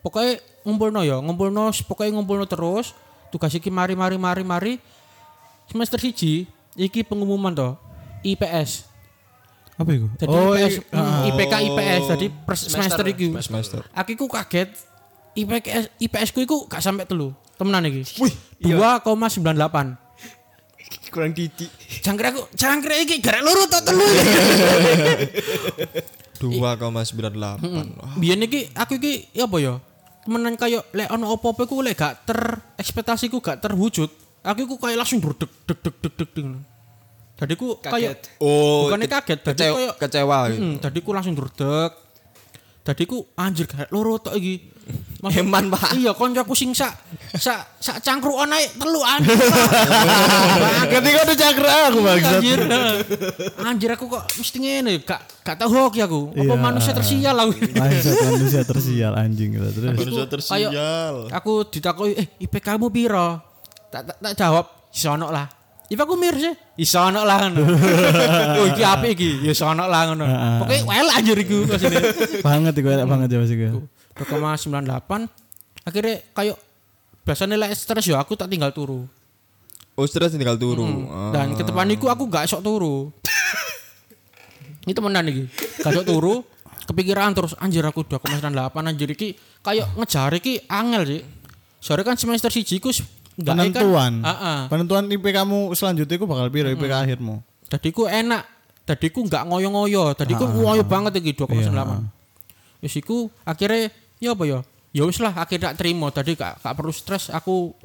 Speaker 3: pokoknya ngumpulno ya, ngumpulno, pokoknya ngumpulno terus, tugas iki mari mari mari mari semester siji iki pengumuman toh IPS.
Speaker 1: apa itu
Speaker 3: Jadi
Speaker 1: oh
Speaker 3: IPS,
Speaker 1: iya.
Speaker 3: mm, IPK IPS jadi per semester,
Speaker 2: Semester,
Speaker 3: iki.
Speaker 4: semester
Speaker 3: Aku iku kaget IPS IPS ku iku gak sampai telu. Temenan iki. 2,98.
Speaker 2: kurang didik.
Speaker 3: Jangkrik aku, jangkrik iki gara loro to telu.
Speaker 4: 2,98
Speaker 3: Biyen iki aku iki ya apa ya? Temenan kayo lek ono apa-apa iku lek gak ter ekspektasiku gak terwujud. Aku iku kayak langsung berdek dek dek dek dek. dek. Jadi ku kayak
Speaker 2: Kaget.
Speaker 4: oh
Speaker 3: bukannya kaget, jadi
Speaker 4: kecewa,
Speaker 3: kayak
Speaker 4: kecewa gitu.
Speaker 3: Hmm, tadi ku langsung durdek. Tadi ku anjir kayak loro tok iki. Maksud-
Speaker 4: Eman, Pak.
Speaker 3: Iya, koncoku sing sak sak sak cangkruan ae telu anjir.
Speaker 1: ketika udah cakra aku bangsat
Speaker 3: anjir. Anjir aku kok mesti ngene, gak gak tau hoki aku. Apa
Speaker 1: Iya.
Speaker 3: manusia tersial aku.
Speaker 1: Bangsat manusia ya tersial anjing gitu terus.
Speaker 4: Manusia
Speaker 3: Kayak aku ditakoi, "Eh, IPK mu piro?" Tak tak, tak jawab, "Iso ono lah." Ipa aku mir sih, iso ono lah ngono. Oh iki apik iki, ya iso ono lah ngono. Pokoke wel anjir iku kesini.
Speaker 1: banget iku enak banget ya Mas iku.
Speaker 3: gitu. 2,98 akhirnya kayak biasanya lek stres ya aku tak tinggal turu
Speaker 4: oh stres tinggal turu Ah.
Speaker 3: dan ke depan iku aku gak esok turu ini temenan iki gak esok turu kepikiran terus anjir aku 2,98 anjir iki kayak ngejar iki angel sih soalnya kan semester siji ku se- nggak- eh, kan-
Speaker 1: Penentuan.
Speaker 3: Heeh.
Speaker 1: Penentuan IP kamu selanjutnya iku bakal piro IP akhirmu?
Speaker 3: Tadi ku enak. Tadi ku nggak ngoyo-ngoyo. Tadi ku
Speaker 1: Ah,
Speaker 3: ngoyo banget iki 2,98. Wis iku akhirnya ya apa ya? Ya wis lah akhirnya tak terima. Tadi gak, gak perlu stres aku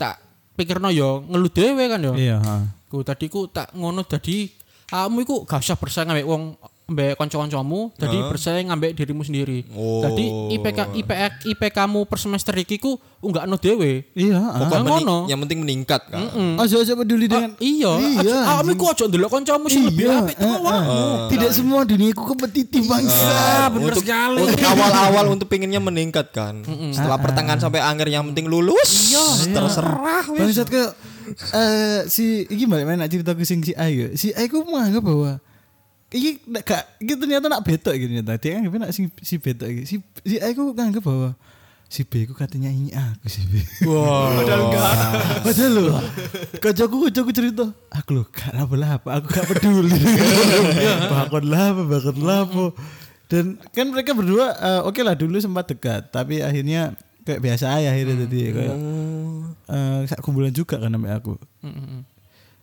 Speaker 3: tak pikirno ya ngelu dhewe kan ya.
Speaker 1: Iya, ha.
Speaker 3: Ku tadi ku tak ngono dadi kamu iku gak usah bersaing ambek wong ambek kanca-kancamu, dadi bersaing ambek dirimu sendiri.
Speaker 4: Oh.
Speaker 3: Tadi IPK IPK IPK-mu per semester iki ku unggakno dhewe.
Speaker 1: Iya, ha.
Speaker 4: Pokok
Speaker 3: Ah,
Speaker 4: meni-
Speaker 3: ngono.
Speaker 4: yang penting meningkat kan
Speaker 1: Aja-aja Mm. peduli dengan
Speaker 3: Iya,
Speaker 1: Iya,
Speaker 3: aku iku ojo ndelok kancamu sing lebih
Speaker 1: Iya, eh,
Speaker 3: apik teko awakmu.
Speaker 1: Tidak semua duniaku kompetitif bangsa.
Speaker 3: Ah, bener
Speaker 4: untuk,
Speaker 3: sekali. Ah,
Speaker 4: untuk awal-awal untuk pinginnya meningkat kan. Setelah pertengahan sampai akhir yang penting lulus.
Speaker 3: Iya.
Speaker 1: Oh,
Speaker 4: terserah wis.
Speaker 1: Bangsat ke eh si iki balik mana cerita ke sing si Ayu. Si Ayu ku menganggap bahwa iki ndak gak iki ternyata nak betok iki ternyata. Dia kan nak sing si betok iki. Si si Ayu ku nganggap bahwa si B ku katanya ini aku si B.
Speaker 4: Padahal enggak.
Speaker 1: Padahal lho, kacaku kacaku cerita, aku lho gak apa-apa, aku gak peduli. Ya, Bakon lah, apa, bakon lah. apa. Dan kan mereka berdua eh, oke lah dulu sempat dekat, tapi akhirnya kayak biasa aja
Speaker 3: Hmm.
Speaker 1: akhirnya tadi kayak eh, sak kumpulan juga kan namanya aku.
Speaker 3: Hmm.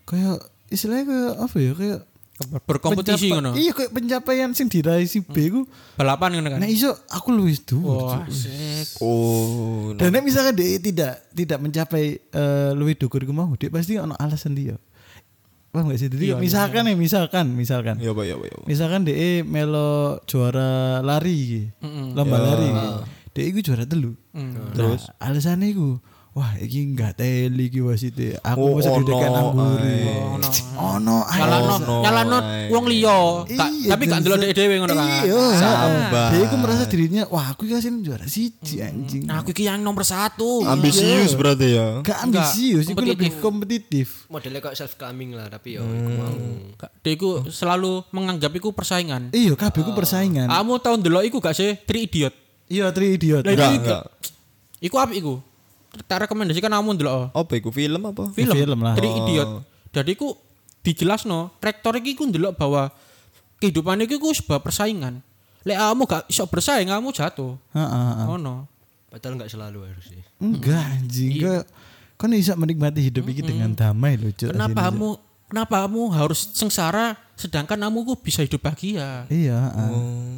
Speaker 1: Kayak istilahnya kayak apa ya kayak
Speaker 3: berkompetisi
Speaker 1: pencapa-
Speaker 3: ngono.
Speaker 1: Iya kayak pencapaian sing diraih si B ku.
Speaker 3: Balapan ngono kan.
Speaker 1: Nah iso aku luwih dhuwur.
Speaker 3: Wah,
Speaker 1: Cuk.
Speaker 3: asik.
Speaker 4: Oh.
Speaker 1: Dan nek misalkan dia tidak tidak mencapai eh, luwih dhuwur iku mau, dia pasti ono alasan dia. Paham gak sih?
Speaker 4: Iya,
Speaker 1: Jadi misalkan ya, misalkan, misalkan.
Speaker 4: Ya Pak, ya Pak, ya, Pak.
Speaker 1: Misalkan dia melo juara
Speaker 3: Ah. Mm.
Speaker 4: Iya. Nah.
Speaker 1: lari iki. Lomba lari. Dia iku juara telu. Terus Nah, alasannya iku, wah iki nggak teli iki wasite
Speaker 4: Oh,
Speaker 1: aku mesti
Speaker 4: ono,
Speaker 1: didekan angguri
Speaker 4: ae.
Speaker 3: Oh, Ono.
Speaker 1: ono ae.
Speaker 3: nyalano
Speaker 4: no,
Speaker 3: nyalano
Speaker 4: ae.
Speaker 3: wong liya Ka-
Speaker 1: Nah, Iya,
Speaker 3: tapi gak
Speaker 1: Denzel.
Speaker 3: ndelok dhewe ngono kan
Speaker 1: iya
Speaker 4: Sabar.
Speaker 1: dia itu merasa dirinya wah aku kasih juara siji anjing
Speaker 3: Nah, aku iki yang nomor satu
Speaker 4: Iya.
Speaker 1: Iya.
Speaker 4: Ambisius berarti ya.
Speaker 1: gak
Speaker 3: Enggak,
Speaker 1: ambisius itu lebih kompetitif
Speaker 2: modelnya kok self climbing lah tapi yo iku mau
Speaker 3: Ka- dia iku selalu menganggap iku persaingan
Speaker 1: iya kabeh ku persaingan
Speaker 3: kamu tau ndelok iku gak sih Three Idiot
Speaker 1: iya tri idiot
Speaker 3: Ah. Lah,
Speaker 4: Enggak,
Speaker 3: Iya.
Speaker 4: enggak.
Speaker 3: iku apa iku tak rekomendasikan kamu ndelok oh.
Speaker 4: Apa iku film apa?
Speaker 3: film,
Speaker 1: Film lah.
Speaker 3: Three Idiot jadi iku dijelasno traktor iki ku ndelok bahwa kehidupan iki ku sebuah persaingan lek kamu gak iso bersaing kamu jatuh
Speaker 1: Ha, ha,
Speaker 4: Ah.
Speaker 1: ha.
Speaker 3: oh no
Speaker 2: padahal nggak selalu harus sih
Speaker 1: enggak
Speaker 3: Hmm. Iya.
Speaker 1: anjing kok kan bisa menikmati hidup ini dengan damai loh Cuk. Asine,
Speaker 3: Kenapa
Speaker 1: Cuk.
Speaker 3: kamu kenapa kamu harus sengsara sedangkan kamu kok bisa hidup bahagia?
Speaker 1: iya ha.
Speaker 3: Oh.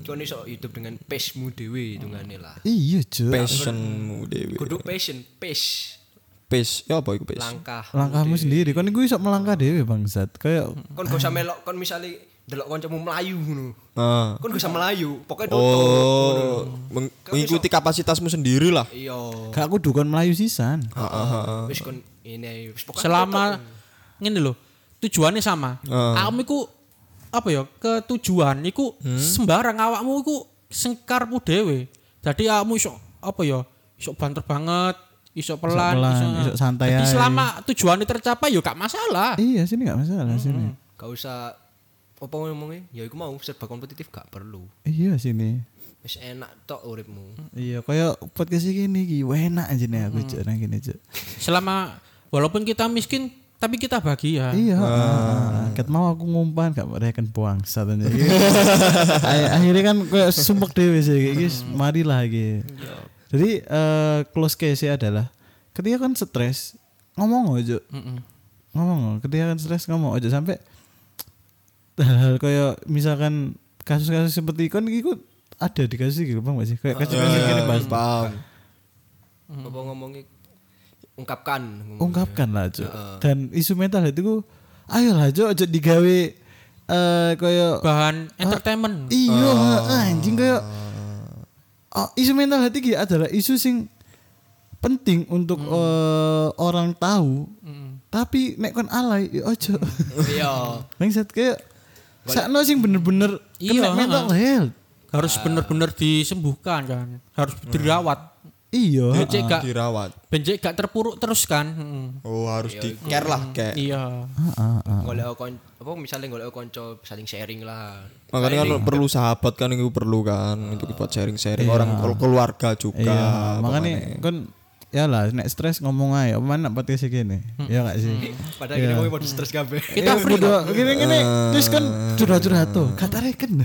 Speaker 2: cuman iso hidup dengan pace mu dewi itu lah
Speaker 1: iya Cuk.
Speaker 4: Passionmu dewe.
Speaker 2: kudu passion pace
Speaker 4: Pace. Ya apa iku pace?
Speaker 2: langkah
Speaker 1: langkahmu sendiri kan gue bisa melangkah dewe bangsat kayak
Speaker 3: Hmm.
Speaker 2: kon gak usah melok kon misalnya delok kancamu melayu ngono
Speaker 4: Nah.
Speaker 2: kon gak usah melayu pokoknya dodol.
Speaker 4: Hmm.
Speaker 3: Kan
Speaker 4: Oh, meng- mengikuti kapasitasmu sendiri lah.
Speaker 2: iya
Speaker 1: gak aku dukun melayu sisan
Speaker 3: Ah.
Speaker 2: wis kon ini wis pokoknya
Speaker 1: Kan
Speaker 3: Selama
Speaker 1: gitu.
Speaker 3: ngene lho, tujuannya sama. Kamu iku apa ya? Ke tujuan iku
Speaker 1: Hmm?
Speaker 3: sembarang awakmu iku sengkarmu dhewe. Jadi kamu iso apa ya? Iso banter banget, iso pelan,
Speaker 1: pelan, iso santai
Speaker 3: Jadi
Speaker 1: ae.
Speaker 3: selama tujuannya tercapai ya gak masalah.
Speaker 1: iya sini gak
Speaker 3: Hmm,
Speaker 1: masalah sini
Speaker 2: gak usah apa ngomongnya ya iku mau serba kompetitif gak perlu
Speaker 1: iya sini
Speaker 2: wis enak tok uripmu
Speaker 1: iya kayak podcast gini iki enak aja nih aku
Speaker 3: Hmm.
Speaker 1: Cuk, nang gini Cuk.
Speaker 3: Selama walaupun kita miskin tapi kita bahagia.
Speaker 1: Iya. ah, Ket mau aku ngumpan gak mereken buang satu nih. Ay- Akhirnya kan kayak sumpek dewe sih kayak guys, marilah iki. Jadi eh, close case adalah ketika kan stres ngomong aja. Ngomong, ketika kan stres ngomong aja sampai hal-hal kayak misalkan kasus-kasus seperti kon iki ku ada di kasus iki Bang gak sih? Kayak
Speaker 4: Ah,
Speaker 1: kasus-kasus gini Bang.
Speaker 4: Paham.
Speaker 2: apa ngomongnya ungkapkan ngomong.
Speaker 1: ungkapkan lah Cuk. Dan isu mental itu ku ayolah Cuk aja digawe eh kayak
Speaker 3: Bahan
Speaker 1: Ah.
Speaker 3: entertainment.
Speaker 1: Iya, heeh, anjing kayak oh, isu mental health iki adalah isu sing penting untuk eh, orang tahu. Tapi nek kon alay ya ojo.
Speaker 2: iya
Speaker 1: Bangsat kayak sakno sing bener-bener
Speaker 3: Iya,
Speaker 1: kena mental health.
Speaker 3: harus
Speaker 4: Ah.
Speaker 3: benar-benar disembuhkan kan harus
Speaker 4: Hmm.
Speaker 3: dirawat
Speaker 1: Iya.
Speaker 4: Ah,
Speaker 3: bencik gak
Speaker 4: Dirawat.
Speaker 3: bencik gak terpuruk terus kan Mm.
Speaker 4: Oh, harus di care lah kayak.
Speaker 3: iya
Speaker 4: Eh,
Speaker 2: golek kon apa misalnya golek konco saling sharing lah
Speaker 4: Makanya
Speaker 1: Iya,
Speaker 4: kan perlu sahabat kan itu perlu kan untuk buat sharing-sharing orang kel- keluarga juga.
Speaker 1: Iya, makanya kon ya lah nek stres ngomong ae, apa mana podcast iki gini. Ya gak sih?
Speaker 2: padahal kita ngomongin pada stres kabeh
Speaker 1: Kita free doang. Gini-gini terus kan curhat-curhat tuh. Katareken.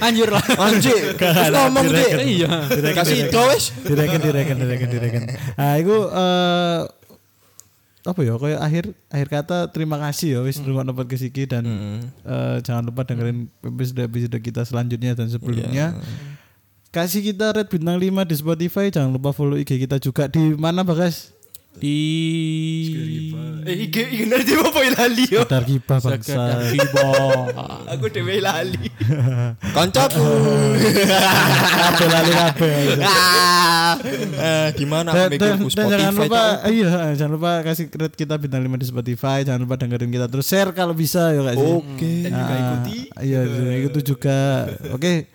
Speaker 3: anjir lah
Speaker 4: Anjir, terus ngomong Cik.
Speaker 3: iya
Speaker 4: Kasih itu wes.
Speaker 1: direken direken direken direken ah itu eh, apa ya kayak akhir akhir kata terima kasih ya wis ngrungokno podcast iki dan eh, jangan lupa dengerin episode episode kita selanjutnya dan sebelumnya kasih kita red bintang 5 di Spotify jangan lupa follow IG kita juga di mana bagas
Speaker 3: di
Speaker 2: eh iki iki nanti apa lali yo
Speaker 1: Dar Gibah bangsa
Speaker 3: Sekedar dibong.
Speaker 2: aku dhewe lali
Speaker 4: Kancaku.
Speaker 1: kabeh lali kabeh
Speaker 4: Ah, eh, di mana
Speaker 1: dan, dan,
Speaker 4: mikirku
Speaker 1: dan jangan
Speaker 4: Spotify?
Speaker 1: lupa
Speaker 4: Cok?
Speaker 1: iya jangan lupa kasih rate kita bintang 5 di Spotify jangan lupa dengerin kita terus share kalau bisa ya Kak Zin.
Speaker 4: Oke.
Speaker 2: dan juga
Speaker 1: Ah,
Speaker 2: ikuti Gitu.
Speaker 1: Iya, juga itu juga. Oke.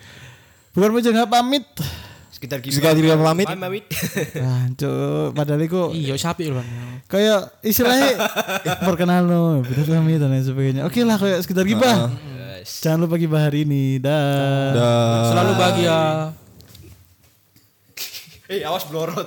Speaker 1: Bukan mau jangan pamit.
Speaker 2: sekitar gimana
Speaker 4: Sekitar gimana pamit?
Speaker 2: pamit
Speaker 1: Ah, cuk, padahal iku
Speaker 3: iya sapi loh
Speaker 4: Eh.
Speaker 1: kayak istilahnya perkenalan lo, bukan pamit dan lain sebagainya. Oke lah kayak sekitar
Speaker 2: Ah.
Speaker 1: gibah. Jangan lupa gibah hari ini. Dah.
Speaker 4: Dah.
Speaker 3: selalu bahagia
Speaker 2: eh awas blorot